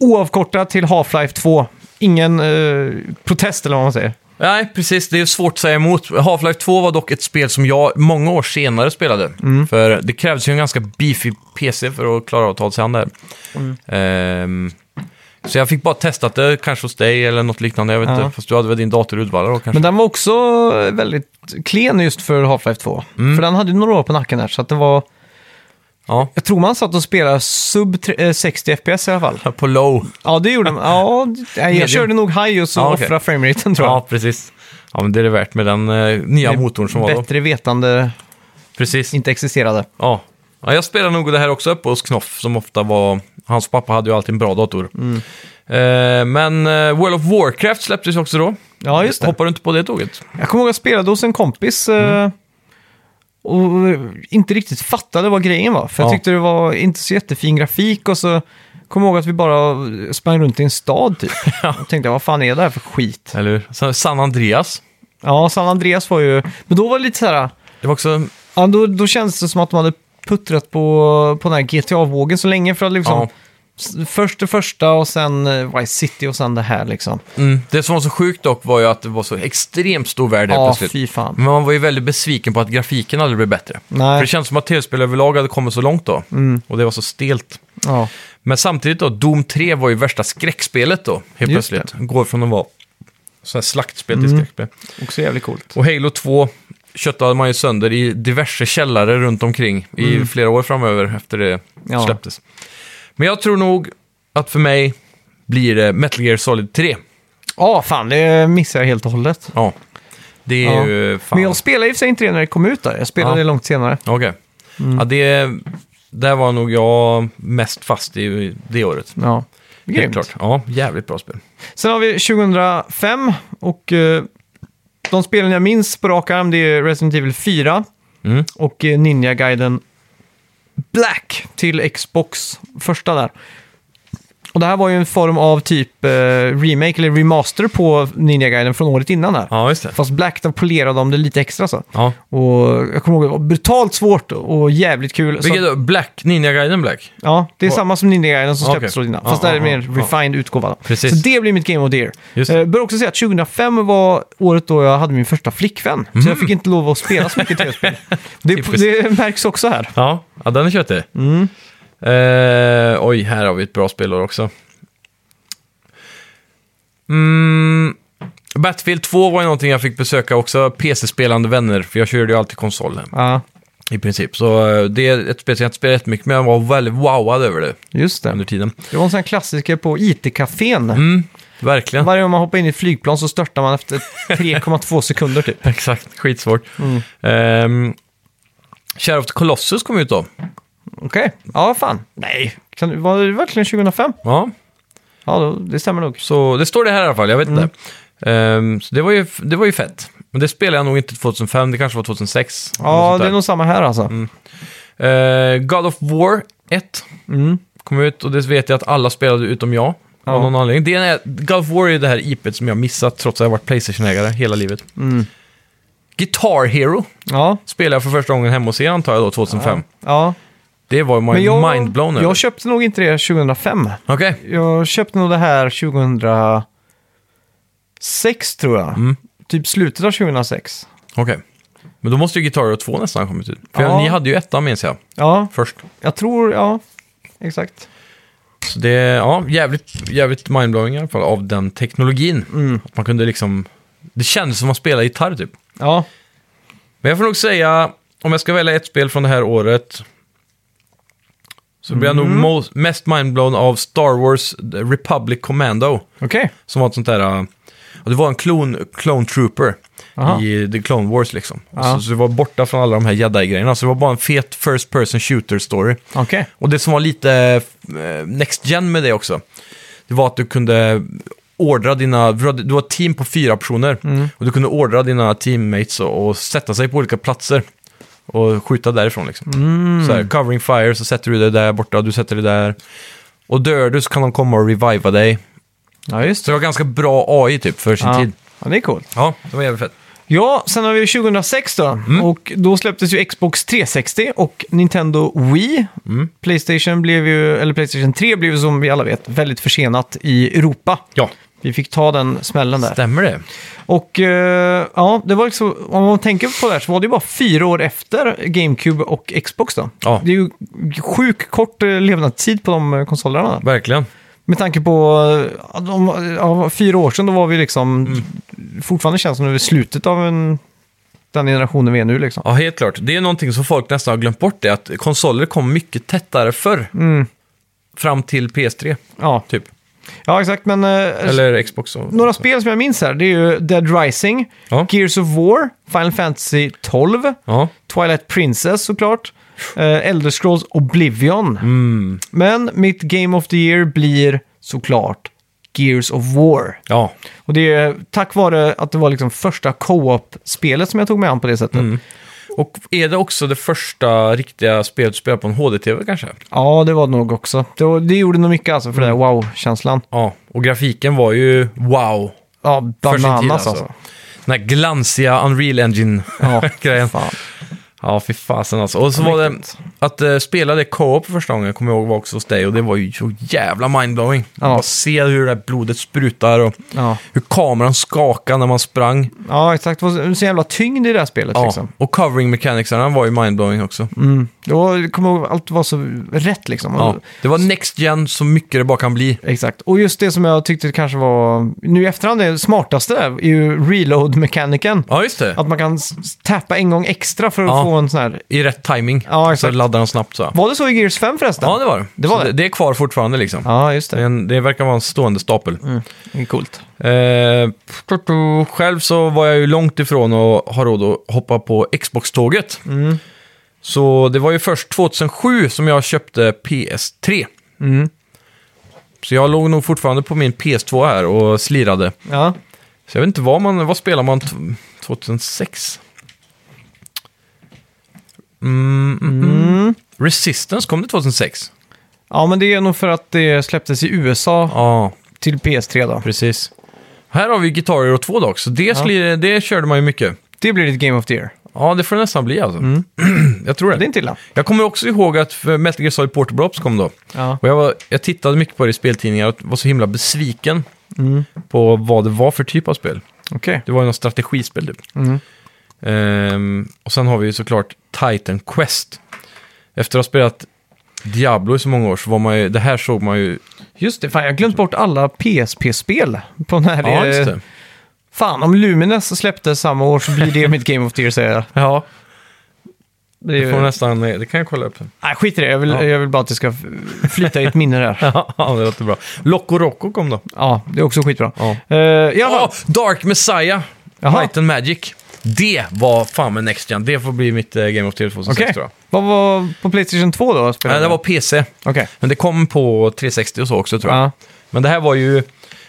oavkortat till Half-Life 2. Ingen eh, protest eller vad man säger. Nej, precis. Det är svårt att säga emot. Half-Life 2 var dock ett spel som jag många år senare spelade. Mm. För det krävdes ju en ganska beefy PC för att klara av att ta sig an det här. Mm. Ehm, så jag fick bara testat det, kanske hos dig eller något liknande. Jag vet Ja. inte, fast du hade väl din dator i Uddevalla då kanske? Men den var också väldigt klen just för Half-Life 2. För den hade ju några år på nacken här, så att det var... Ja, Jag tror man satt och spelade sub tre- eh, 60 FPS i alla fall. på low. Ja, det gjorde man. Ja, det- nej, Medium. jag körde nog high och så Ja, okej. offrade frameraten tror jag. Ja, precis. Ja, men det är det värt med den eh, nya motorn som var då. Bättre vetande Precis. inte existerade. Ja. ja, jag spelade nog det här också uppe hos Knoff som ofta var... Hans pappa hade ju alltid en bra dator. Mm. Eh, men eh, World of Warcraft släpptes ju också då. Ja, just det. Hoppar du inte på det tåget? Jag kommer ihåg att jag spelade hos en kompis eh, och eh, inte riktigt fattade vad grejen var. För jag Ja. tyckte det var inte så jättefin grafik och så kom jag ihåg att vi bara sprang runt i en stad typ. Och tänkte, vad fan är det här för skit? Eller hur? Sen San Andreas. Ja, San Andreas var ju... Men då var det lite så här... Det var också... Ja, då, då kändes det som att de hade puttrat på, på den här GTA-vågen så länge. För att liksom... Ja. s- Först det första och sen eh, Vice City och sen det här liksom. Mm. Det som var så sjukt dock var ju att det var så extremt stor värld helt Ja, plötsligt. Mm. fy fan. Men man var ju väldigt besviken på att grafiken aldrig blev bättre. Nej. Mm. För det känns som att tv-spel överlag hade kommit så långt då. Och det var så stelt. Ja. Men samtidigt då, Doom 3 var ju värsta skräckspelet då, helt Just Mm. plötsligt. Går från att vara så här slaktspel till skräckspel. Också jävligt coolt. Och Halo 2 köttade man ju sönder i diverse källare runt omkring i flera år framöver efter det Mm. Ja. släpptes. Men jag tror nog att för mig blir det Metal Gear Solid 3. Ja, fan, det missade jag helt och hållet. Ja. Det är Ja. ju fan... Men jag spelade i och för sig inte det när det kom ut där. Jag spelade Ja. det långt senare. Okej. Mm. Ja, det... Där var nog jag mest fast i det året. Ja, Helt grymt. klart. Ja, jävligt bra spel. Sen har vi 2005 och eh, de spelen jag minns på rak arm det är Resident Evil 4 Mm. och eh, Ninja Gaiden Black till Xbox, första där. Och det här var ju en form av typ eh, remake eller remaster på Ninja Gaiden från året innan där. Ja, just det. Fast Black, där polerade de det lite extra så. Ja. Och jag kommer ihåg, det var brutalt svårt och jävligt kul. Så- Vilket då? Black? Ninja-guiden Black? Ja, det är Och- samma som Ninja Gaiden som Okej. släpptes okay. innan. Ja, Fast det här är ja, mer ja, ja. refined utgåva. då. Precis. Så det blir mitt Game of the Year. Just det. Eh, bör också säga att 2005 var året då jag hade min första flickvän. Så jag fick inte lov att spela så mycket tv-spel. Det, Mm. Typiskt. det märks också här. Ja, ja den är köttig. Eh, oj, här har vi ett bra spelår också. Mm, Battlefield 2 var ju någonting jag fick besöka också, PC-spelande vänner, för jag körde ju alltid konsol Ja, i princip. Så eh, det är ett spel som jag inte spelat jättemycket, men jag var väldigt wowad över det just under det. tiden. Det var en sån här klassiker på IT-cafén. Mm, verkligen. Varje gång man hoppar in i ett flygplan så störtar man efter 3,2 sekunder typ. Exakt, skitsvårt. Ehm, Shadow of the Colossus kom ut då. Okej, ja fan. Nej, kan, du- var det verkligen 2005? Ja, Ja, då, det stämmer nog. så det står det här i alla fall, jag Mm. vet inte. Ehm, så det var, ju, det var ju fett. Men det spelade jag nog inte 2005, det kanske var 2006. eller Ja, något det är nog sånt Mm. samma här alltså. där. Ehm, God of War 1 kom ut och det vet jag att alla spelade utom jag. Av Mm. Ja. någon anledning. Det är, God of War är ju det här IPet som jag missat trots att jag har varit Playstation-ägare hela livet. Mm. Guitar Hero Ja, spelade jag för första gången hemma hos er antar jag då, 2005. ja. Det var ju Men jag, mindblown över. jag köpte nog inte det 2005. Okej. Jag köpte nog det här 2006 tror jag. Mm. Typ slutet av 2006. Okej. Men då måste ju Guitar Hero 2 nästan ha kommit ut. För Ja. ni hade ju ettan minns jag, Ja, först. jag tror, ja. Exakt. Så det, ja, jävligt, jävligt mindblowing i alla fall av den teknologin. Mm. Att man kunde liksom, det kändes som att spela gitarr typ. Ja, Men jag får nog säga, om jag ska välja ett spel från det här året, så blir jag Mm. nog mo- mest mindblown av Star Wars The Republic Commando. okej. Som var ett sånt där... äh, ja, Det var en klon, clone trooper Aha. i The Clone Wars liksom. Och Ja. Så, så det var borta från alla de här jedi-grejerna. Så det var bara en fet first person shooter story. Okej. Och det som var lite eh, next gen med det också, det var att du kunde ordra dina, du hade- du var ett team på fyra personer och du kunde ordra dina teammates och, och sätta sig på olika platser och skjuta därifrån liksom. Så här, covering fire, så sätter du dig där borta, du sätter dig där. Och dör du så kan de komma och reviva dig. Ja, just Så det. det var ganska bra AI typ för sin Ja. tid. ja, det är coolt. Ja, det var jävligt fett. Ja, sen har vi ju 2006 då. Mm. Och då släpptes ju Xbox 360 och Nintendo Wii. Mm. Playstation, blev ju, eller Playstation 3 blev ju som vi alla vet väldigt försenat i Europa. Ja, Vi fick ta den smällen där. stämmer det? Och eh, ja, det var liksom, om man tänker på det här så var det ju bara fyra år efter GameCube och Xbox då. Ja. Det är ju sjukt kort eh, levnadstid på de eh, konsolerna. Verkligen. Med tanke på, eh, att de, ja, fyra år sedan då var vi liksom, Mm. fortfarande känns som det är slutet av en, den generationen vi är nu liksom. Ja, helt klart. Det är någonting som folk nästan har glömt bort, det är att konsoler kom mycket tättare förr. Mm. Fram till PS3, Ja, typ. ja exakt men... eh, Eller Xbox. Och... Några spel som jag minns här, det är ju Dead Rising, Ja. Gears of War, Final Fantasy 12, Ja. Twilight Princess såklart. Eh, Elder Scrolls Oblivion. Mm. Men mitt Game of the Year blir såklart Gears of War. ja. Och det är tack vare att det var liksom första co-op-spelet som jag tog mig an på det sättet. Mm. Och är det också det första riktiga spelet du spelar på en HD-TV kanske? Ja, det var det nog också. Det, var, det gjorde nog mycket alltså för den Mm. här wow-känslan. Ja, och grafiken var ju wow. Ja, För sin tid, bananas alltså. alltså. Den här glansiga Unreal Engine-grejen. Ja, fan. Ja, fy fasen alltså. Och så var det mäktigt. att eh, spela det co-op för första gången, kommer jag ihåg, var också hos dig. Och det var ju så jävla mindblowing. Ja. Bara se hur det där blodet sprutar och Ja. hur kameran skakade när man sprang. ja, exakt. Det var så jävla tyngd i det här spelet Ja. liksom. Och covering mechanicsarna var ju mindblowing också. Mm. Då kommer jag ihåg, allt var så rätt liksom. Ja. Det var next gen så mycket det bara kan bli. Exakt, och just det som jag tyckte kanske var, nu i efterhand, det smartaste där är ju reload-mekaniken. Ja, just det. Att man kan s- tappa en gång extra för att Ja. få en sån här... I rätt timing. Ja, så exakt. laddar den snabbt så. Var det så i Gears 5 förresten? Ja, det var det. Det var Så det. det är kvar fortfarande liksom. Ja, Mm. just Det, är det. en, det verkar vara en stående stapel. Det är coolt. Eh, själv så var jag ju långt ifrån att ha råd att hoppa på Xbox-tåget. Så det var ju först 2007 som jag köpte PS3. Mm. Så jag låg nog fortfarande på min PS2 här och slirade. Ja, Så jag vet inte vad man, vad spelar man t- 2006? Mm, mm, mm. Resistance kom det 2006? ja men det är nog för att det släpptes i USA Ja, till PS3 då. precis. Här har vi Guitar Hero 2 dock, så det, slir, det körde man ju mycket. Det blir ditt Game of the Year. Ja, det får det nästan bli alltså. jag tror det. Det är inte illa. Jag kommer också ihåg att för Metal Gear Solid Portable Ops kom då. Ja. Och jag, var, jag tittade mycket på det i speltidningar och var så himla besviken Mm. på vad det var för typ av spel. Okej. Det var ju något strategispel typ. Ehm, och sen har vi ju såklart Titan Quest. Efter att ha spelat Diablo i så många år så var man ju, det här såg man ju... Just det, fan jag har glömt bort alla PSP-spel på den här. Ja, eh, just det. Fan, om Lumines släpptes samma år så blir det mitt Game of the Year säger jag. Ja, Det är det, får ju... nästan, det kan jag kolla upp sen. Nej, skit i det. Jag vill, Ja. jag vill bara att det ska f- flyta i ett minne där. Ja, det låter bra. Loco Roco kom då. Ja, det är också skitbra. Ja. Eh, Ja, jaha, Dark Messiah, Jaha. Might and Magic. Det var fan med Next Gen. Det får bli mitt eh, Game of the Year 2006 okej. tror jag. Vad var på Playstation 2 då? Nej, det var PC. Okej. Men det kom på 360 och så också tror jag. Ja, Men det här var ju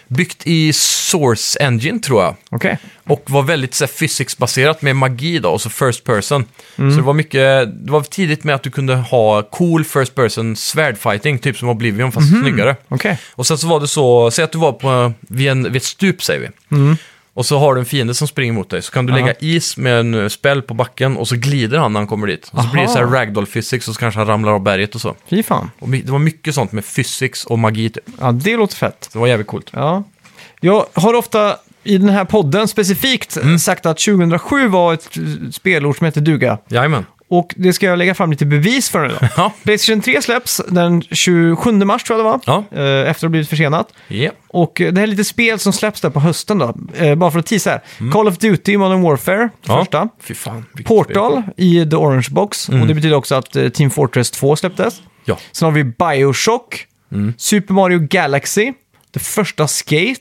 byggt i Source Engine tror jag. okej. Och var väldigt så här, physics-baserat med magi då, och så first person. Mm. Så det var mycket, det var tidigt med att du kunde ha cool first person svärdfighting, typ som Oblivion fast snyggare. Mhm. Okej. Och sen så var det så, säg att du var på, vid, en, vid ett stup säger vi. Mm. Och så har du en fiende som springer mot dig, så kan du lägga is med en eh, späll på backen och så glider han när han kommer dit. Och så blir det så här Aha. ragdoll physics och så kanske han ramlar av berget och så. Fy fan. Och my- det var mycket sånt med physics och magi typ. Ja, det låter fett. Så det var jävligt coolt. Ja. Jag har ofta i den här podden specifikt Mm. sagt att 2007 var ett eh, spelår som hette duga. Jajamän. Och det ska jag lägga fram lite bevis för nu då. Ja. Playstation 3 släpps den 27 mars tror jag det var. Ja. Eh, Efter att ha blivit försenat. Ja. Och eh, det här är lite spel som släpps där på hösten då. Eh, Bara för att tisa här. Call of Duty Modern Warfare, det Mm. Ja. första. Fy fan. vilket spel. Portal i The Orange Box. Mm. Och det betyder också att eh, Team Fortress 2 släpptes. Ja. Sen har vi Bioshock, Mm. Super Mario Galaxy, det första Skate,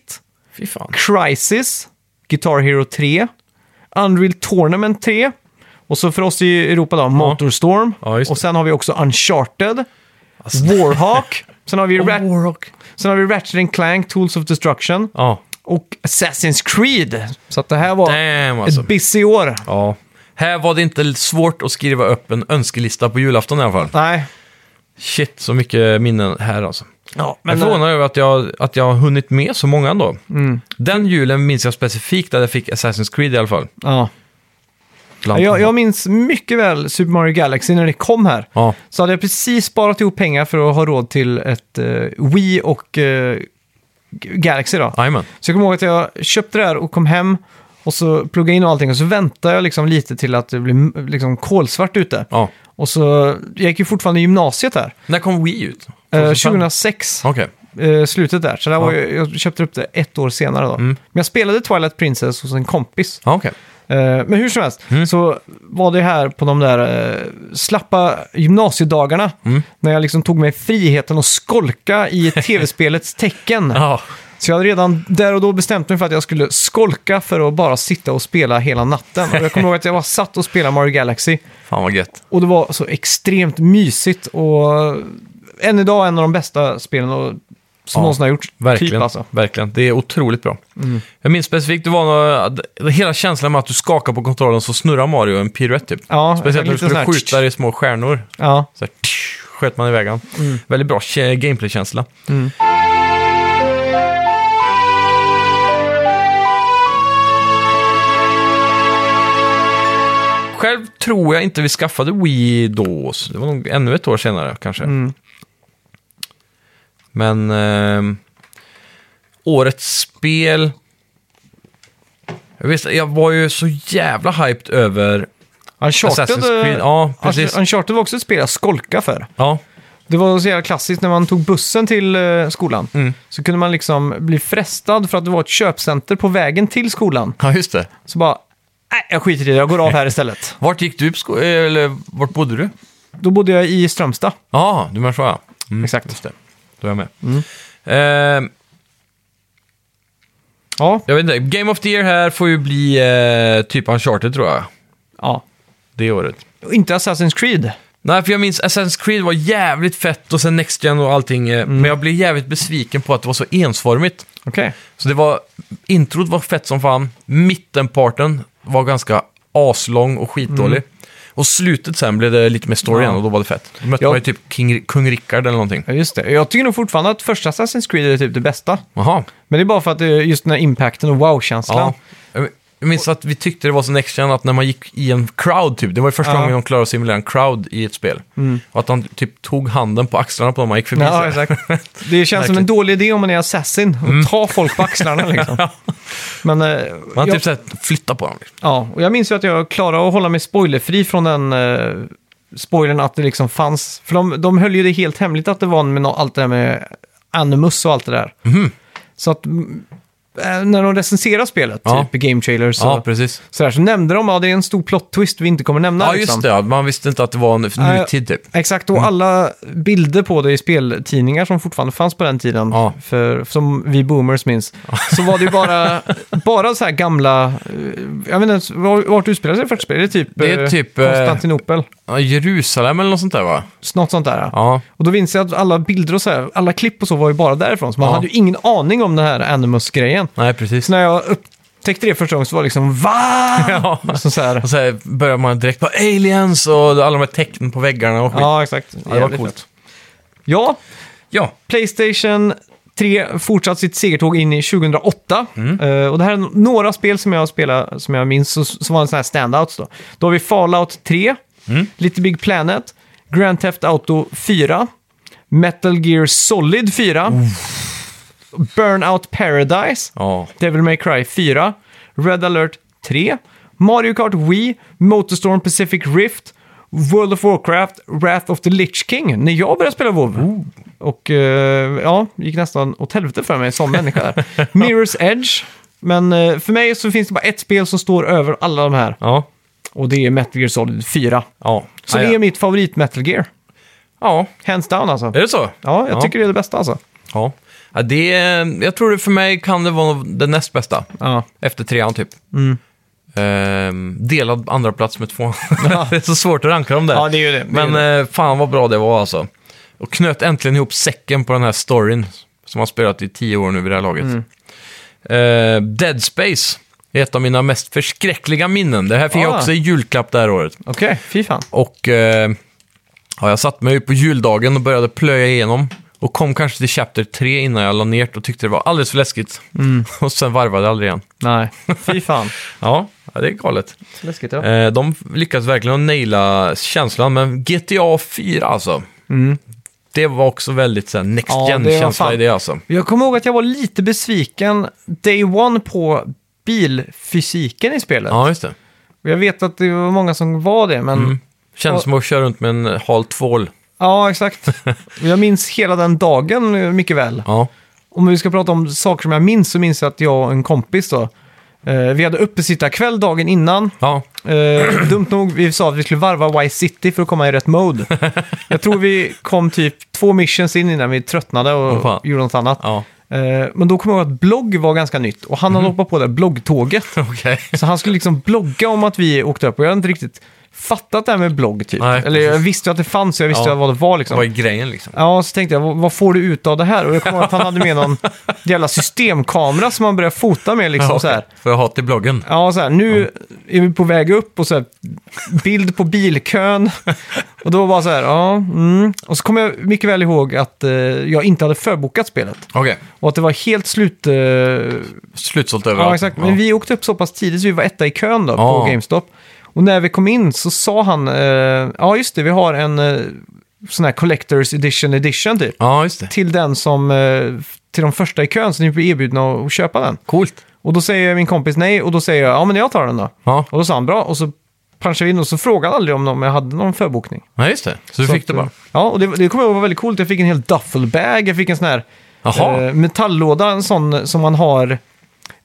Fy fan. Crisis, Guitar Hero 3, Unreal Tournament 3 och så för oss i Europa då, Motorstorm. Ja, just det. Alltså. och sen har vi också Uncharted, Warhawk, sen har, vi Rat- sen har vi Ratchet and Clank, Tools of Destruction Ja. och Assassin's Creed. Så att det här var Damn alltså. ett busy år. Ja. Här var det inte svårt att skriva upp en önskelista på julafton i alla fall. Nej. Shit, så mycket minnen här alltså. Ja, Men men, eh, jag förvånar över att jag, att jag har hunnit med så många ändå. Mm. Den julen minns jag specifikt att jag fick Assassin's Creed i alla fall. ja. Bland Jag, jag minns mycket väl Super Mario Galaxy när det kom här. Ja. Så hade jag precis sparat ihop pengar för att ha råd till ett eh, Wii och eh, G- Galaxy då. Jajamän. Så jag kommer ihåg att jag köpte det här och kom hem och så pluggade in och allting och så väntade jag liksom lite till att det blev m- liksom kolsvart ute. Ja. Och så, jag gick ju fortfarande i gymnasiet här. När kom Wii ut? Eh, 2005? 2006, Okej. eh, slutet där. Så det här var Ja. Mm. ju, jag köpte upp det ett år senare då. Men jag spelade Twilight Princess hos en kompis. Ja, okej. Eh, Men hur som helst, Mm. så var det här på de där eh, slappa gymnasiedagarna. Mm. När jag liksom tog mig friheten att skolka i tv-spelets tecken. Ja. Så jag hade redan där och då bestämt mig för att jag skulle skolka för att bara sitta och spela hela natten. Och jag kommer ihåg att jag bara satt och spelade Mario Galaxy. Fan vad gött. Och det var så extremt mysigt och än idag en av de bästa spelen och, som Ja, någonsin har gjorts. Verkligen. Typ alltså. Mm. Verkligen. Det är otroligt bra. Jag minns specifikt, det var nå- att- hela känslan med att du skakar på kontrollen så snurrar Mario en piruett typ. Ja, Speciellt när du lite sån skulle här- skjuta i små stjärnor. Ja. Så här, tsch, sköt man iväg han. Väldigt bra ke- gameplay-känsla. Själv tror jag inte vi skaffade Wii då. Så det var nog ännu ett år senare kanske. Men ehm, årets spel... Jag, visste, jag var ju så jävla hyped över... Uncharted, Assassin's Creed, ja, precis. Unch- Uncharted var också ett spel jag skolkade för. Ja, Det var så jävla klassiskt när man tog bussen till eh, skolan. Mm. Så kunde man liksom bli frestad för att det var ett köpcenter på vägen till skolan. ja just det. Så bara, nej jag skiter i det, jag går av här istället. Vart gick du på sko- eh, Eller vart bodde du? Då bodde jag i Strömstad. Ja, du menar så ja. Mm, Exakt. Just det. Då är jag med. Mm. Eh, Ja, jag vet inte, Game of the Year här får ju bli eh, typ Uncharted tror jag. ja. Det året. Och inte Assassin's Creed. Nej, för jag minns Assassin's Creed var jävligt fett och sen Next Gen och allting. eh, Mm. Men jag blev jävligt besviken på att det var så ensformigt. Okej. Så det var, introt var fett som fan, mittenparten var ganska aslång och skitdålig. Och slutet sen blev det lite mer story Mm. Ja. igen och då var det fett. Då mötte Ja. man ju typ King, kung Rickard eller någonting. Ja, just det. Jag tycker nog fortfarande att första Assassin's Creed är typ det bästa. Jaha. Men det är bara för att det är just den här impacten och wow-känslan. Ja. Jag minns att vi tyckte det var så next gen att när man gick i en crowd typ, det var ju första Ja. Mm. gången de klarade att simulera en crowd i ett spel. Och att han typ tog handen på axlarna på dem man gick förbi. Ja, så här. exakt. Det känns som en dålig idé om man är assassin och tar folk på axlarna liksom. Men, eh, Mm. Man jag- typ såhär flyttade på dem. Liksom. Ja, och jag minns ju att jag klarade att hålla mig spoilerfri från den eh, spoilern att det liksom fanns. För de, de höll ju det helt hemligt att det var med nå- allt det där med Animus och allt det där. Mhm. Så att mm, eh, när de recenserar spelet, Ja. typ i Game Trailers, Ja, och precis. sådär, så nämnde de att ja, det är en stor plot twist vi inte kommer nämna. Ja, liksom. just det. ja. Man visste inte att det var en Nej. nutid typ. Eh, Exakt, och alla bilder på det i speltidningar som fortfarande fanns på den tiden, Ja. för, som vi boomers minns, så var det ju bara, bara så här gamla... eh, Jag vet inte, var- vart utspelar sig första spelet? Det är typ, Det är eh, typ, eh, Konstantinopel, Ja, Jerusalem eller något sånt där va? något sånt där. Ja. Och då minns jag att alla bilder och så här, alla klipp och så var ju bara därifrån, så man Ja. hade ju ingen aning om den här Animus-grejen. Nej, precis. Så när jag upptäckte det första gången så var det liksom va? Ja. Alltså, Så så här, Och så här börjar man direkt på aliens och alla de här tecknen på väggarna och skit. ja, exakt. Ja, det var Jävligt coolt. fett. Ja, Ja, Playstation 3 fortsatt sitt segertåg in i 2008. Eh, och det här är några spel som jag spelar som jag minns så- som var en sån här standouts då. Då har vi Fallout 3, Little Big Planet, Grand Theft Auto 4, Metal Gear Solid 4, Burnout Paradise, ja. Devil May Cry 4, Red Alert 3, Mario Kart Wii, Motorstorm Pacific Rift, World of Warcraft, Wrath of the Lich King, när jag började spela WoW. Och eh, ja, gick nästan åt helvete för mig som människa där. Mirror's Edge, men eh, för mig så finns det bara ett spel som står över alla de här. Ja. Och det är Metal Gear Solid 4. Ja. Så Ja, det ja. är mitt favorit Metal Gear. Ja, Hands down alltså. är det så? Ja, jag tycker det är det bästa alltså. Ja. ja det är, jag tror det för mig kan det vara den näst bästa. Ja. Efter trean typ. Mm. Ehm, delad andra plats med tvåan. det är så svårt att ranka dem där. Ja, det är ju det. Det är Men ju eh, fan vad bra det var alltså. Och knöt äntligen ihop säcken på den här storyn som har spelat i tio år nu vid det här laget. Mm. Eh, Dead Space är ett av mina mest förskräckliga minnen. Det här fick jag Ah. också i julklapp det här året. Okej, fy fan. Och eh, ja, jag satte mig ju på juldagen och började plöja igenom. Och kom kanske till Chapter 3 innan jag la ner och tyckte det var alldeles för läskigt. Mm. och sen varvade jag aldrig igen. Nej, fy fan. Ja, ja, det är galet. Läskigt ja. Eh, de lyckades verkligen naila känslan, men GTA 4 alltså. Det var också väldigt så här, next Mm. Ja, det var gen-känsla fan- i det alltså. Jag kommer ihåg att jag var lite besviken day one på bilfysiken i spelet. Ja, Mm. just det. Och Jag vet att det var många som var det, men Känns Och- som att köra runt med en hal tvål. ja, exakt. Och jag minns hela den dagen eh, mycket väl. Ja. Om vi ska prata om saker som jag minns så minns jag att jag och en kompis då, eh, vi hade uppesittarkväll dagen innan. ja. Eh, dumt nog, vi sa att vi skulle varva Vice City för att komma i rätt mode. jag tror vi kom typ två missions in innan vi tröttnade Åh, och fan. gjorde något annat. Ja, Eh, Men då kom jag ihåg att blogg var ganska nytt och han Mhm. hade hoppat på det här bloggtåget. okej. Så han skulle liksom blogga om att vi åkte upp och jag hade inte riktigt fattat det här med blogg typ. Nej, Eller jag precis. visste ju att det fanns och jag visste Ja. ju vad det var liksom. Vad är grejen liksom? Ja, så tänkte jag, vad, vad får du ut av det här? Och jag kommer ihåg att han hade med någon jävla systemkamera som han började fota med liksom så här. För jag ha till bloggen. Ja, så här, nu är vi på väg upp och så här, bild på bilkön. Och då var så här, ja, mm. Och så kommer jag mycket väl ihåg att eh, jag inte hade förbokat spelet. Okej. Och att det var helt slut... eh, Slutsålt överallt. ja, exakt. Men vi åkte upp så pass tidigt så vi var etta i kön då Ja. på GameStop. Och när vi kom in så sa han, eh, ja just det, vi har en eh, sån här Collectors Edition Edition typ. Ja, just det. Till den som, eh, till de första i kön, så ni blir erbjudna att, att köpa den. Coolt. Och då säger min kompis nej och då säger jag, ja men jag tar den då. Ja. Och då sa han bra och så punchade vi in och så frågade han aldrig om, om jag hade någon förbokning. ja, just det. Så du Så fick att, det eh, bara. Ja, och det, det kommer jag ihåg var väldigt coolt. Jag fick en hel duffelbag, jag fick en sån här Jaha. eh, metalllåda, en sån som man har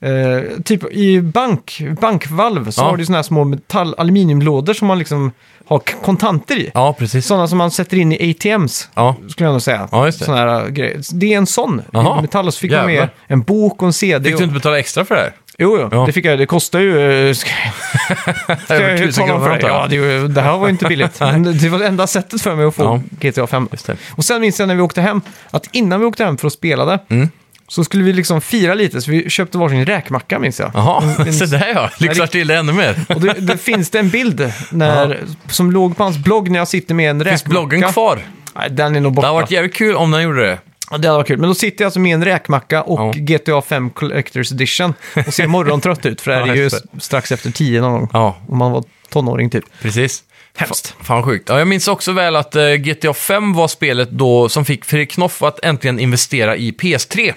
eh, typ i bank, bankvalv så Ja. har du såna här små metall, aluminiumlådor som man liksom har k- kontanter i. Ja, precis. Sådana som man sätter in i ATMs, Ja. skulle jag nog säga. Ja, just det. Såna här grejer. Det är en sån. Jaha. I metall och så fick jag med Jävlar. en bok och en CD. Fick och... du inte betala extra för det här? Jo, jo. Ja. det fick jag. Det kostar ju... eh, Ska ska jag, Över ju 1000 tala om kronor för dig? antar Ja, jag. det, är ju- det här var ju inte billigt. Men det var det enda sättet för mig att få Ja. GTA 5. Just det. Och sen minns jag när vi åkte hem, att innan vi åkte hem för att spela det, Mm. så skulle vi liksom fira lite, så vi köpte varsin räkmacka minns jag. En- Jaha, en- så där ja. Lyxar till det ännu mer. Och det, det finns det en bild när, som låg på hans blogg när jag sitter med en räkmacka. Finns bloggen kvar? Nej, den är nog Det borta. hade varit jävligt kul om den gjorde det. Ja, Det hade varit kul. Men då sitter jag alltså med en räkmacka och Ja. GTA 5 Collectors Edition och ser morgontrött ut, för det här Ja, är ju just strax efter tio någon gång. Ja. Om man var tonåring typ. Precis. Hemskt. Fa- Fan sjukt. Ja, jag minns också väl att eh, GTA 5 var spelet då som fick Fredrik Knoff att äntligen investera i PS3.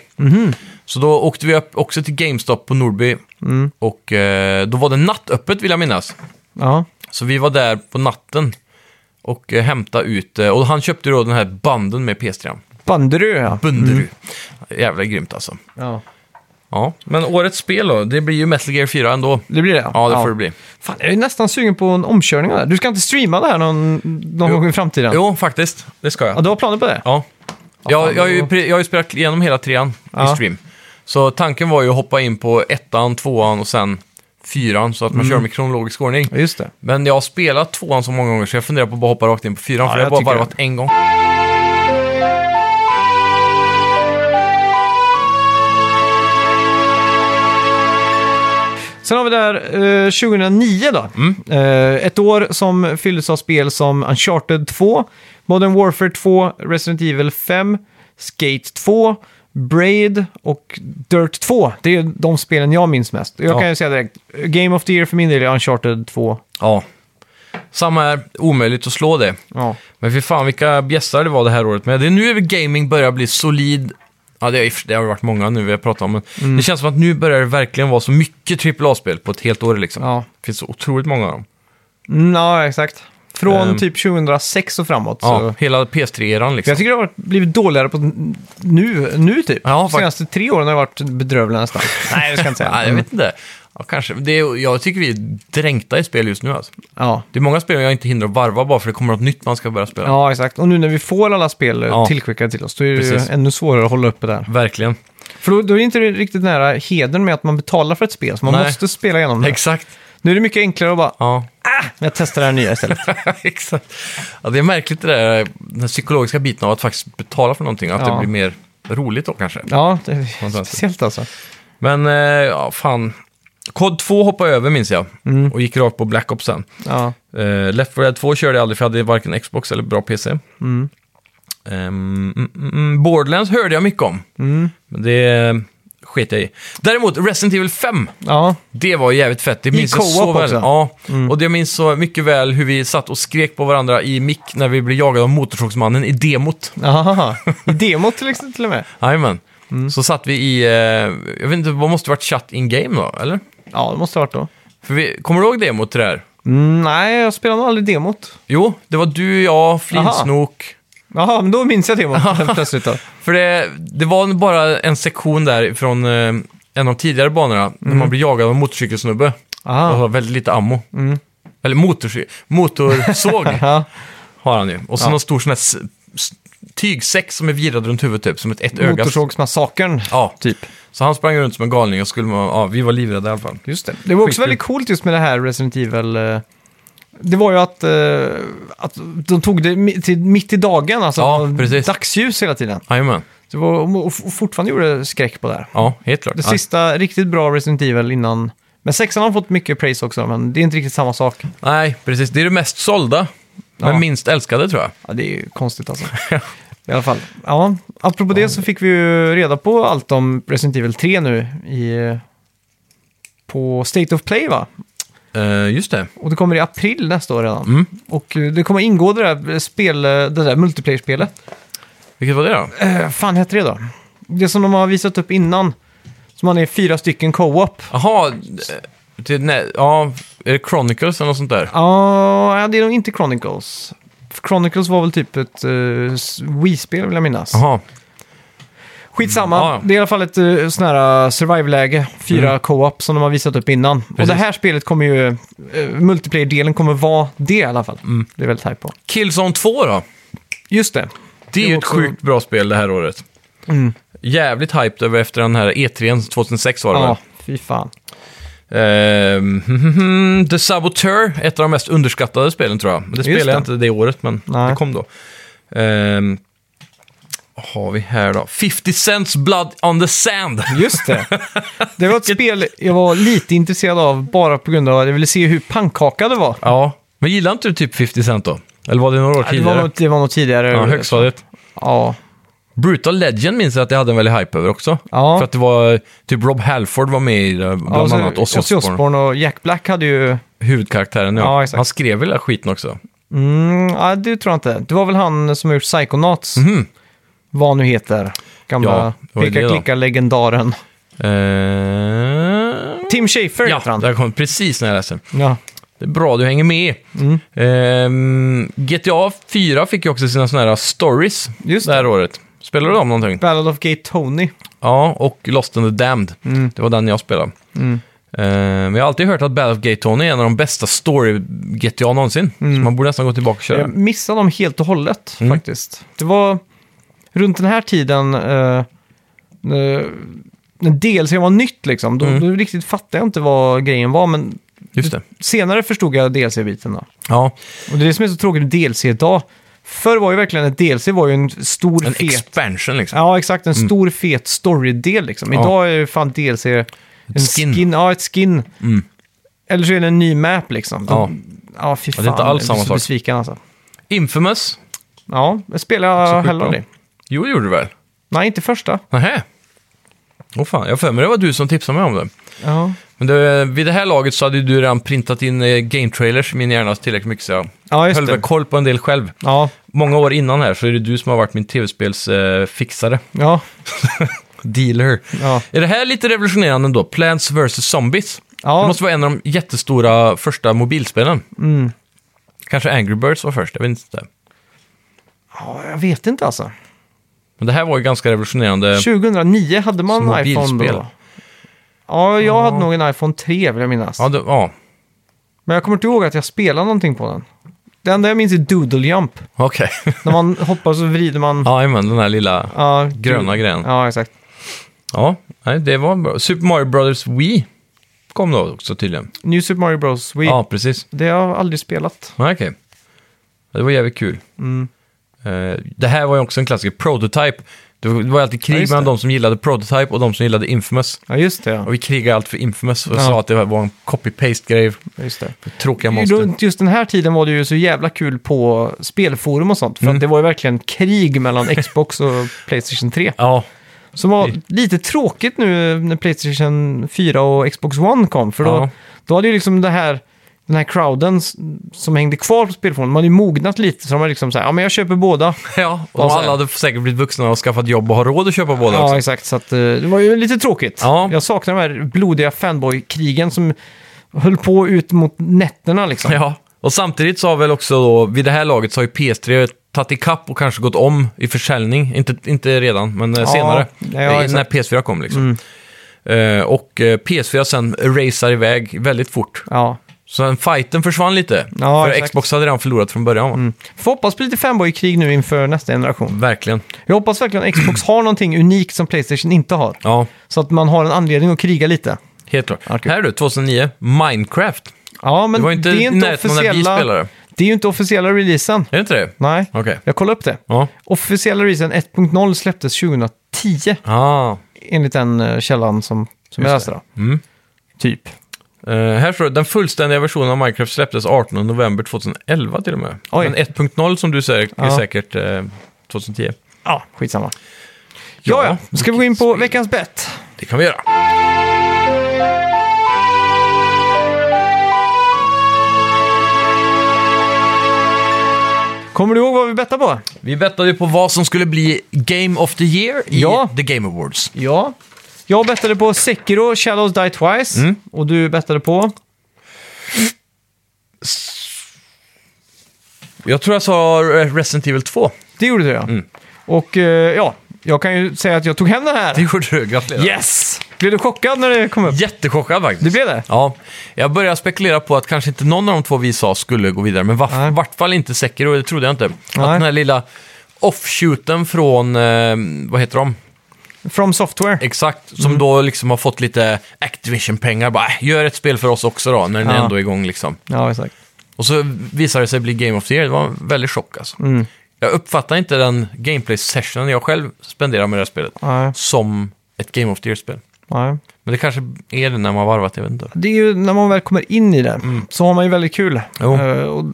Så då åkte vi upp också till GameStop på Norby och eh, då var det nattöppet vill jag minnas. Ja, Så vi var där på natten Och eh, hämta ut, eh, och han köpte ju då den här banden med PS3. Banderö, ja. Bunderu. Jävla grymt alltså. ja. Ja, men årets spel då, det blir ju Metal Gear 4 ändå. Det blir det? Ja, det får det bli. Fan, jag är nästan sugen på en omkörning av det här. Du ska inte streama det här någon, någon Jo. gång i framtiden? Jo, faktiskt. Det ska Ja, jag. du har planer på det? Ja. Jag, jag, har ju, då- pre- jag har ju spelat igenom hela trean Ja. i stream. Så tanken var ju att hoppa in på ettan, tvåan och sen fyran så att man kör med kronologisk ordning. Mm. Ja, just det. Men jag har spelat tvåan så många gånger så jag funderar på att bara hoppa rakt in på fyran Ja, för jag jag har bara tycker varvat en gång. Sen har vi där eh, 2009 då. Mm. Eh, ett år som fylldes av spel som Uncharted 2, Modern Warfare 2, Resident Evil 5, Skate 2, Braid och Dirt 2. Det är ju de spelen jag minns mest. Jag Ja. kan ju säga direkt, Game of the Year för min del är Uncharted 2. Ja. Samma här, omöjligt att slå det. Ja. Men för fan vilka bjässar det var det här året med. Det är nu gaming börjar bli solid. Ja, det, är, det har ju varit många nu vi har pratat om, men Mm. det känns som att nu börjar det verkligen vara så mycket AAA-spel på ett helt år liksom. Ja. Det finns så otroligt många av dem. Mm, ja, exakt. Från Ehm. typ 2006 och framåt. Ja, Så. hela PS3-eran Jag liksom. tycker det har varit- blivit dåligare på nu, nu typ. Ja, de fakt- senaste tre åren har det varit bedrövliga nästan. Nej, det ska jag inte säga. Nej, jag vet inte. Ja, kanske. Det är, jag tycker vi är dränkta i spel just nu alltså. Ja. Det är många spel jag inte hinner att varva bara för det kommer något nytt man ska börja spela. Ja, exakt. Och nu när vi får alla spel eh, Ja. tillskickade till oss, då är det Precis. ju ännu svårare att hålla uppe där. Verkligen. För då, då är det inte riktigt nära hedern med att man betalar för ett spel, så man Nej. måste spela igenom det. Exakt. Nu är det mycket enklare att bara, Ja. jag testar det här nya istället. Exakt. Ja, det är märkligt det där, den psykologiska biten av att faktiskt betala för någonting, att det Ja. blir mer roligt då kanske. ja, det är speciellt alltså. Men, eh, ja, fan. Kod 2 hoppade jag över minns jag och gick rakt på Black Ops sen. Ja. Eh, Left 4 Dead 2 körde jag aldrig för jag hade varken Xbox eller bra PC. Ehm, mm, mm, mm. Borderlands hörde jag mycket om, men det eh, sket jag i. Däremot Resident Evil 5, Ja. det var jävligt fett. Det minns jag co-op så väl. också. Mm. Ja, och det jag minns så mycket väl hur vi satt och skrek på varandra i mick när vi blev jagade av Motorsågsmannen i demot. Aha. I demot till exempel till och med. Jajamän. Mm. Så satt vi i, eh, jag vet inte, vad måste det varit chat in game då, eller? Ja, det måste ha varit då. För vi, kommer du ihåg demot till det här? Mm, nej, jag spelade nog aldrig demot. Jo, det var du, jag, Flintsnok. Jaha, men då minns jag demot helt plötsligt då. För det, det var bara en sektion där från eh, en av de tidigare banorna, när man blir jagad av en motorcykelsnubbe. Mm. Aha. Mm. Och har väldigt lite ammo. Eller motorcy- motorsåg Ja. har han ju. Och så Ja. någon stor sån här s- s- tygsäck som är virad runt huvudet typ, som ett, ett öga. Motorsågsmassakern. Ja, Typ. så han sprang runt som en galning och skulle, man- ja, vi var livrädda i alla fall. Just det. Det var också Skitkul. väldigt coolt just med det här Resident Evil. eh, Det var ju att, eh, att de tog det mi- till, mitt i dagen, alltså Ja, precis. dagsljus hela tiden. Jajamän, Det var, och f- fortfarande gjorde det skräck på det här. ja, helt klart. Det Ja. sista riktigt bra Resident Evil innan... Men sexan har fått mycket praise också, men det är inte riktigt samma sak. Nej, precis. Det är det mest sålda, men Ja. minst älskade tror jag. Ja, det är ju konstigt alltså. I alla fall. Ja, apropå det så fick vi ju reda på allt om Resident Evil 3 nu i... På State of Play va? Eh, just det. Och det kommer i april nästa år redan. Mm. Och eh, det kommer ingå det där, spel, eh, det där multiplayer-spelet. Vilket var det då? Eh, fan heter det då? Det som de har visat upp innan. Som man är fyra stycken co-op. Jaha, eh, det, nej, ja, är det Chronicles eller något sånt där? Ja, det är nog inte Chronicles. För Chronicles var väl typ ett eh, s- Wii-spel vill jag minnas. Jaha, Skitsamma, Mm, ja, ja. det är i alla fall ett uh, sån här survive-läge. Fyra co-op som de har visat upp innan. Och Precis. det här spelet kommer ju, eh, multiplayer-delen kommer vara det i alla fall. Mm. Det är väldigt hype på. Killzone 2 då? Just det. Det är ju ett också- Mm. sjukt bra spel det här året. Jävligt hyped över efter den här E3 2006 var det Ja, väl? fy fan. Ehm, The Saboteur, ett av de mest underskattade spelen tror jag. Det spelade jag det. inte det året, men Nej. det kom då. Ehm, vad har vi här då? 50 Cents Blood on the Sand. Just det. Det var ett spel jag var lite intresserad av bara på grund av att jag ville se hur pannkaka det var. Ja, men gillar inte du typ 50 Cent då? Eller var det några år Det var tidigare? något, det var något tidigare. Ja, högstadiet. Ja. Brutal Legend minns jag att jag hade en väldig hype över också. Ja. För att det var, typ Rob Halford var med i det, bland Ja, och så- annat. Ozzy Osbourne. Osbourne och Jack Black hade ju... Huvudkaraktären, ja. Ja, exakt. Han skrev väl den skiten också? Mm, ja, det tror jag inte. Det var väl han som har gjort Psychonauts. Mhm. Vad han nu heter. Ja, Gamla det var ju det då. peka-klicka-legendaren. Eh, Tim Schafer ja, heter han. där kom precis när jag läste. Ja. Det är bra du hänger med. Mm. Ehm, GTA 4 fick ju också sina såna här stories Just det här året. Spelade du om någonting? Battle of Gay Tony. Ja, och Lost and the Damned. Mm. Det var den jag spelade. Ehm, men jag har alltid hört att Battle of Gate Tony är en av de bästa story-GTA någonsin. Mm. Så man borde nästan gå tillbaka och köra. Jag missade dem helt och hållet Mm. Ehm, faktiskt. Det var runt den här tiden, eh, eh, när DLC var nytt liksom, då, Mm. då riktigt fattade jag inte vad grejen var, men Just det. senare förstod jag DLC-biten då. Ja, Och det är det som är så tråkigt med DLC idag. Förr var ju verkligen ett DLC var ju en stor en fet... expansion liksom. Ja, exakt. En stor fet storydel liksom. Ja. Idag är ju fan DLC... Ett en skin. Ja, ett skin. Mm. Eller så är det en ny map liksom. Ja. ja fy Ja, fan. det är inte alls jag samma så sak. besviken alltså. Infamous. Ja, jag Också spelar sjukt hellre bra. det. Jo, det gjorde du väl? Nej, inte första. Nähä. Åh fan, jag har för mig det var du som tipsade mig om det. Ja, Men det, vid det här laget så hade ju du redan printat in eh, game trailers i min hjärna tillräckligt mycket så jag ja just höll väl det. koll på en del själv. Ja, Många år innan här så är det du som har varit min tv-spelsfixare. ja, Dealer. ja. Är det här lite revolutionerande då? Plants vs. Zombies? Det ja. måste vara en av de jättestora första mobilspelen. Mm. Kanske Angry Birds var först, jag vet inte. ja, jag vet inte alltså. Men det här var ju ganska revolutionerande. 2009 hade man Som en iPhone mobilspel. då. Ja, jag Ja. hade nog en iPhone 3 vill jag minnas. Ja, det, ja. Men jag kommer inte ihåg att jag spelade någonting på den. Det enda jag minns är Doodle Jump. okej. När man hoppar så vrider man... Ja, men den här lilla Ja, gröna grejen. Ja, exakt. Ja, nej, det var bra. Super Mario Brothers Wii kom då också tydligen. New Super Mario Bros. Wii. Ja, precis. Det har jag aldrig spelat. Ja, okej. Ja, Det var jävligt kul. Mm. Eh, Det här var ju också en klassiker. Prototype. Det var det var alltid krig Ja, just mellan det. de som gillade Prototype och de som gillade Infamous. Ja, just det. Ja. Och vi krigade allt för Infamous och Ja. sa att det var en copy-paste-grej. Just det. Tråkiga monster. Runt just den här tiden var det ju så jävla kul på spelforum och sånt. För Mm. att det var ju verkligen krig mellan Xbox och Playstation 3. Ja, Som var lite tråkigt nu eh, när Playstation 4 och Xbox One kom. För då, Ja. då hade ju liksom det här, den här crowden s- som hängde kvar på spelforum, man hade ju mognat lite. Så de var liksom så här, ja men jag köper båda. ja. och Och så- alla hade säkert blivit vuxna och skaffat jobb och har råd att köpa båda Ja, också. exakt. Så att, eh, det var ju lite tråkigt. Ja. Jag saknar de här blodiga fanboy-krigen som höll på ut mot nätterna liksom. Ja. Och samtidigt så har väl också då, vid det här laget så har ju PS3 tagit ikapp och kanske gått om i försäljning. Inte, inte redan, men eh, Ja, senare. ja, Eh, exakt. Mm. när PS4 kom liksom. Eh, och eh, PS4 sen racear iväg väldigt fort. Ja. Så den fighten försvann lite. Ja, för exakt. Mm. Xbox hade redan förlorat från början. va? Får hoppas på lite fanboy-krig nu inför nästa generation. Verkligen. Jag hoppas verkligen att Xbox har någonting unikt som Playstation inte har. Ja, Så att man har en anledning att kriga lite. helt klart. Ja, kul. Här du, 2009. Minecraft. Ja, men Det var ju inte, det är i inte närheten av när vi officiella... spelade. Är Det är ju inte officiella releasen. det inte det? Nej, Okej. jag kollade upp det. Ja. Officiella releasen 1.0 släpptes 2010 Ah. enligt den eh, källan som, som jag Just läste. Då. Mm. Typ. Eh, här står det, den fullständiga versionen av Minecraft släpptes 18 november 2011 till och med. Oj. Men 1.0 som du säger är Ja. säkert eh, 2010. Ja, skitsamma. Ja, ja. Nu ska vi gå in på veckans bett. Det kan vi göra. Kommer du ihåg vad vi bettade på? Vi bettade ju på vad som skulle bli Game of the Year i Ja. The Game Awards. Ja. Jag bettade på Sekiro, Shadows Die Twice. Mm. Och du bettade på... Jag tror jag sa eh, Resident Evil 2. Det gjorde du ja. Mm. Och eh, ja, jag kan ju säga att jag tog hem den Det här. gjorde du, gratulerar. Yes! Blev du chockad när det kom upp? Jättechockad faktiskt. Det blev det? Ja, jag började spekulera på att kanske inte någon av de två vi sa skulle gå vidare, men varf- Nej. vart fall inte Sekiro, det trodde jag inte. Nej. Att den här lilla offshooten från, eh, vad heter de? From Software. Exakt, Mm. som då liksom har fått lite Activision-pengar. Bara, "Äh, gör ett spel för oss också då, när den Ja. ändå är igång liksom. Ja, exakt. Och så visade det sig bli Game of the Year, det var en väldig chock alltså. Mm. Jag uppfattar inte den gameplay-sessionen jag själv spenderar med det här spelet Nej, som ett Game of the Year-spel. nej. Men det kanske är det när man har varvat, jag vet inte. Det är ju när man väl kommer in i det så har man ju väldigt kul. Mm. Jo. Eh, och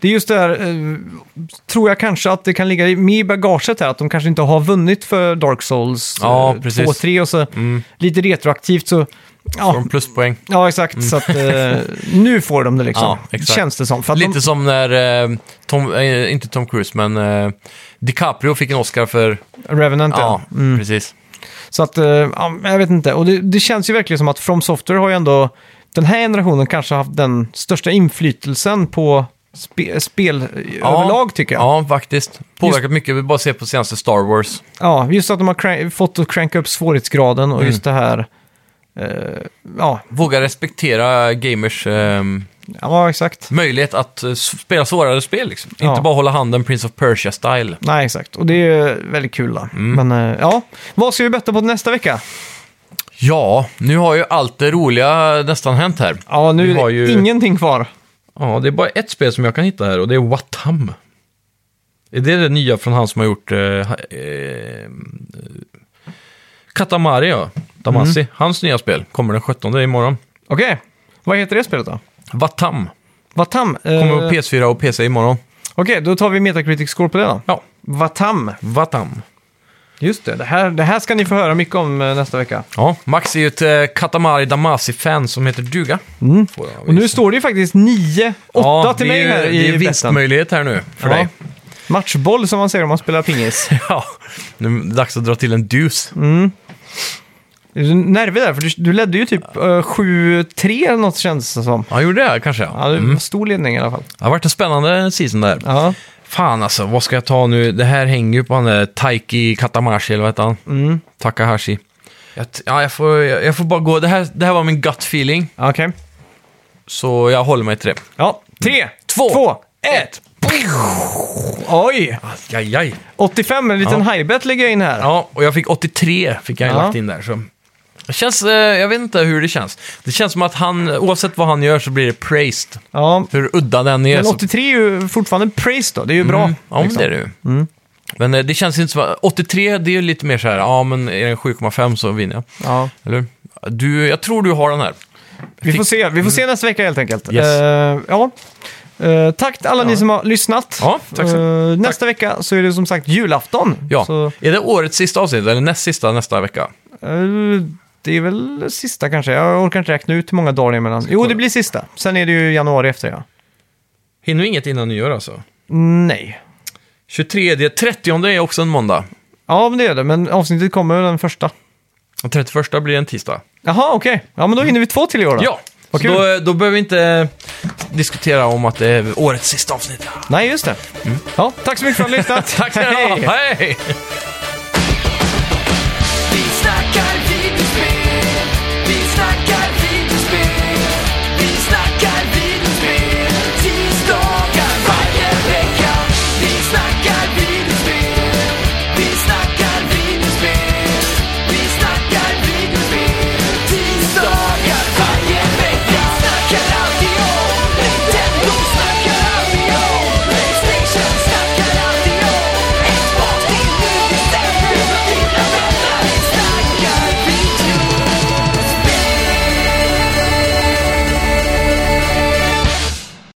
det är just det här, eh, tror jag kanske att det kan ligga i- med i bagaget här, att de kanske inte har vunnit för Dark Souls Ja, eh, precis. 2 3 och så lite retroaktivt så... Får Ja, de pluspoäng? ja exakt. Så att, eh, nu får de det liksom, Ja, exakt. känns det som. För att Lite de, som när, eh, Tom, eh, inte Tom Cruise, men eh, DiCaprio fick en Oscar för... Revenant, Ja, ja. precis. Så att, eh, ja, jag vet inte. Och det, det känns ju verkligen som att From Software har ju ändå den här generationen kanske har haft den största inflytelsen på spe, spel eh, överlag tycker jag. Ja, faktiskt. Påverkat mycket. Vi bara ser på senaste Star Wars. Ja, just att de har crank, fått att cranka upp svårighetsgraden och Mm. just det här. eh, ja, Våga respektera gamers ehm, ja, exakt. möjlighet att eh, s- spela svårare spel liksom. Ja. Inte bara hålla handen Prince of Persia-style. Nej, exakt. Och det är ju väldigt kul då. Mm. Men eh, ja, vad ska vi betta på nästa vecka? Ja, nu har ju allt det roliga nästan hänt här. Ja, nu Vi är det har ju- ingenting kvar. Ja, det är bara ett spel som jag kan hitta här och det är Watam. Är det det nya från han som har gjort... Eh, ha- eh, Katamari, ja. Damasi. Hans nya spel kommer den 17 imorgon. Okej, vad heter det spelet då? Watam. Vatam. eh, Kommer på Okej, PS4 och PC imorgon. då tar vi Metacritic score på det då. Ja, Vatam. Watam. Just det, det här, det här ska ni få höra mycket om eh, nästa vecka. Ja, Max är ju ett eh, Katamari Damasi-fan som heter duga. Får han Mm. Och nu visa. står det ju faktiskt 9-8 Ja, till det är mig ju- här Det i är betten. vinstmöjlighet här nu för Ja. dig. Matchboll som man säger om man spelar pingis. Ja, nu är det dags att dra till en dus. Mm. Är du nervig där? För du, du ledde ju typ eh, 7-3 eller något kändes det som. Ja, gjorde jag kanske. Ja, Ja. det var stor ledning i alla fall. Det har varit en spännande season där. Ja. Fan alltså, vad ska jag ta nu? Det här hänger ju på han där Taiki Katamashi, eller vad heter han? Mm. Takahashi. Jag, t- ja, jag, får, jag, jag får bara gå. Det här, det här var min gut feeling, Okej. så jag håller mig till det. Ja, 3, Två, 2, 1. Oj! Aj, aj. 85, en liten ja. highbet lägger jag in här. Ja, och jag fick 83, fick jag Ja. lagt in där. Så. Det känns, eh, jag vet inte hur det känns. Det känns som att han, oavsett vad han gör så blir det praised. Ja. Hur udda den är. Men så- 83 är ju fortfarande praise då, det är ju bra. Mm, ja, men liksom. det är det ju. Men eh, det känns inte som... 83, det är ju lite mer så här, ja men är den 7,5 så vinner jag. Ja. Eller? Du, jag tror du har den här. Vi får Fick- Mm. se, vi får se nästa vecka helt enkelt. Yes. Eh, ja. Eh, tack alla ni som har lyssnat. Ja, tack så- Eh, nästa vecka så är det som sagt julafton. Ja. Så, Är det årets sista avsnitt eller näst sista nästa vecka? eh, det är väl sista kanske. Jag orkar inte räkna ut hur många dagar det är mellan. Jo, det blir sista. Sen är det ju januari efter ja. Hinner vi inget innan nyår alltså? Nej. 23, 30 är också en måndag. Ja, men det är det. Men avsnittet kommer den första. Och 31 blir en tisdag. Jaha, okej. Ja, men då hinner vi två till i år då. Mm. Ja, Vad så kul. då, då behöver vi inte diskutera om att det är årets sista avsnitt. Mm. Nej, just det. Ja, tack så mycket för att ni har lyssnat. Tack ska ni ha! Hej!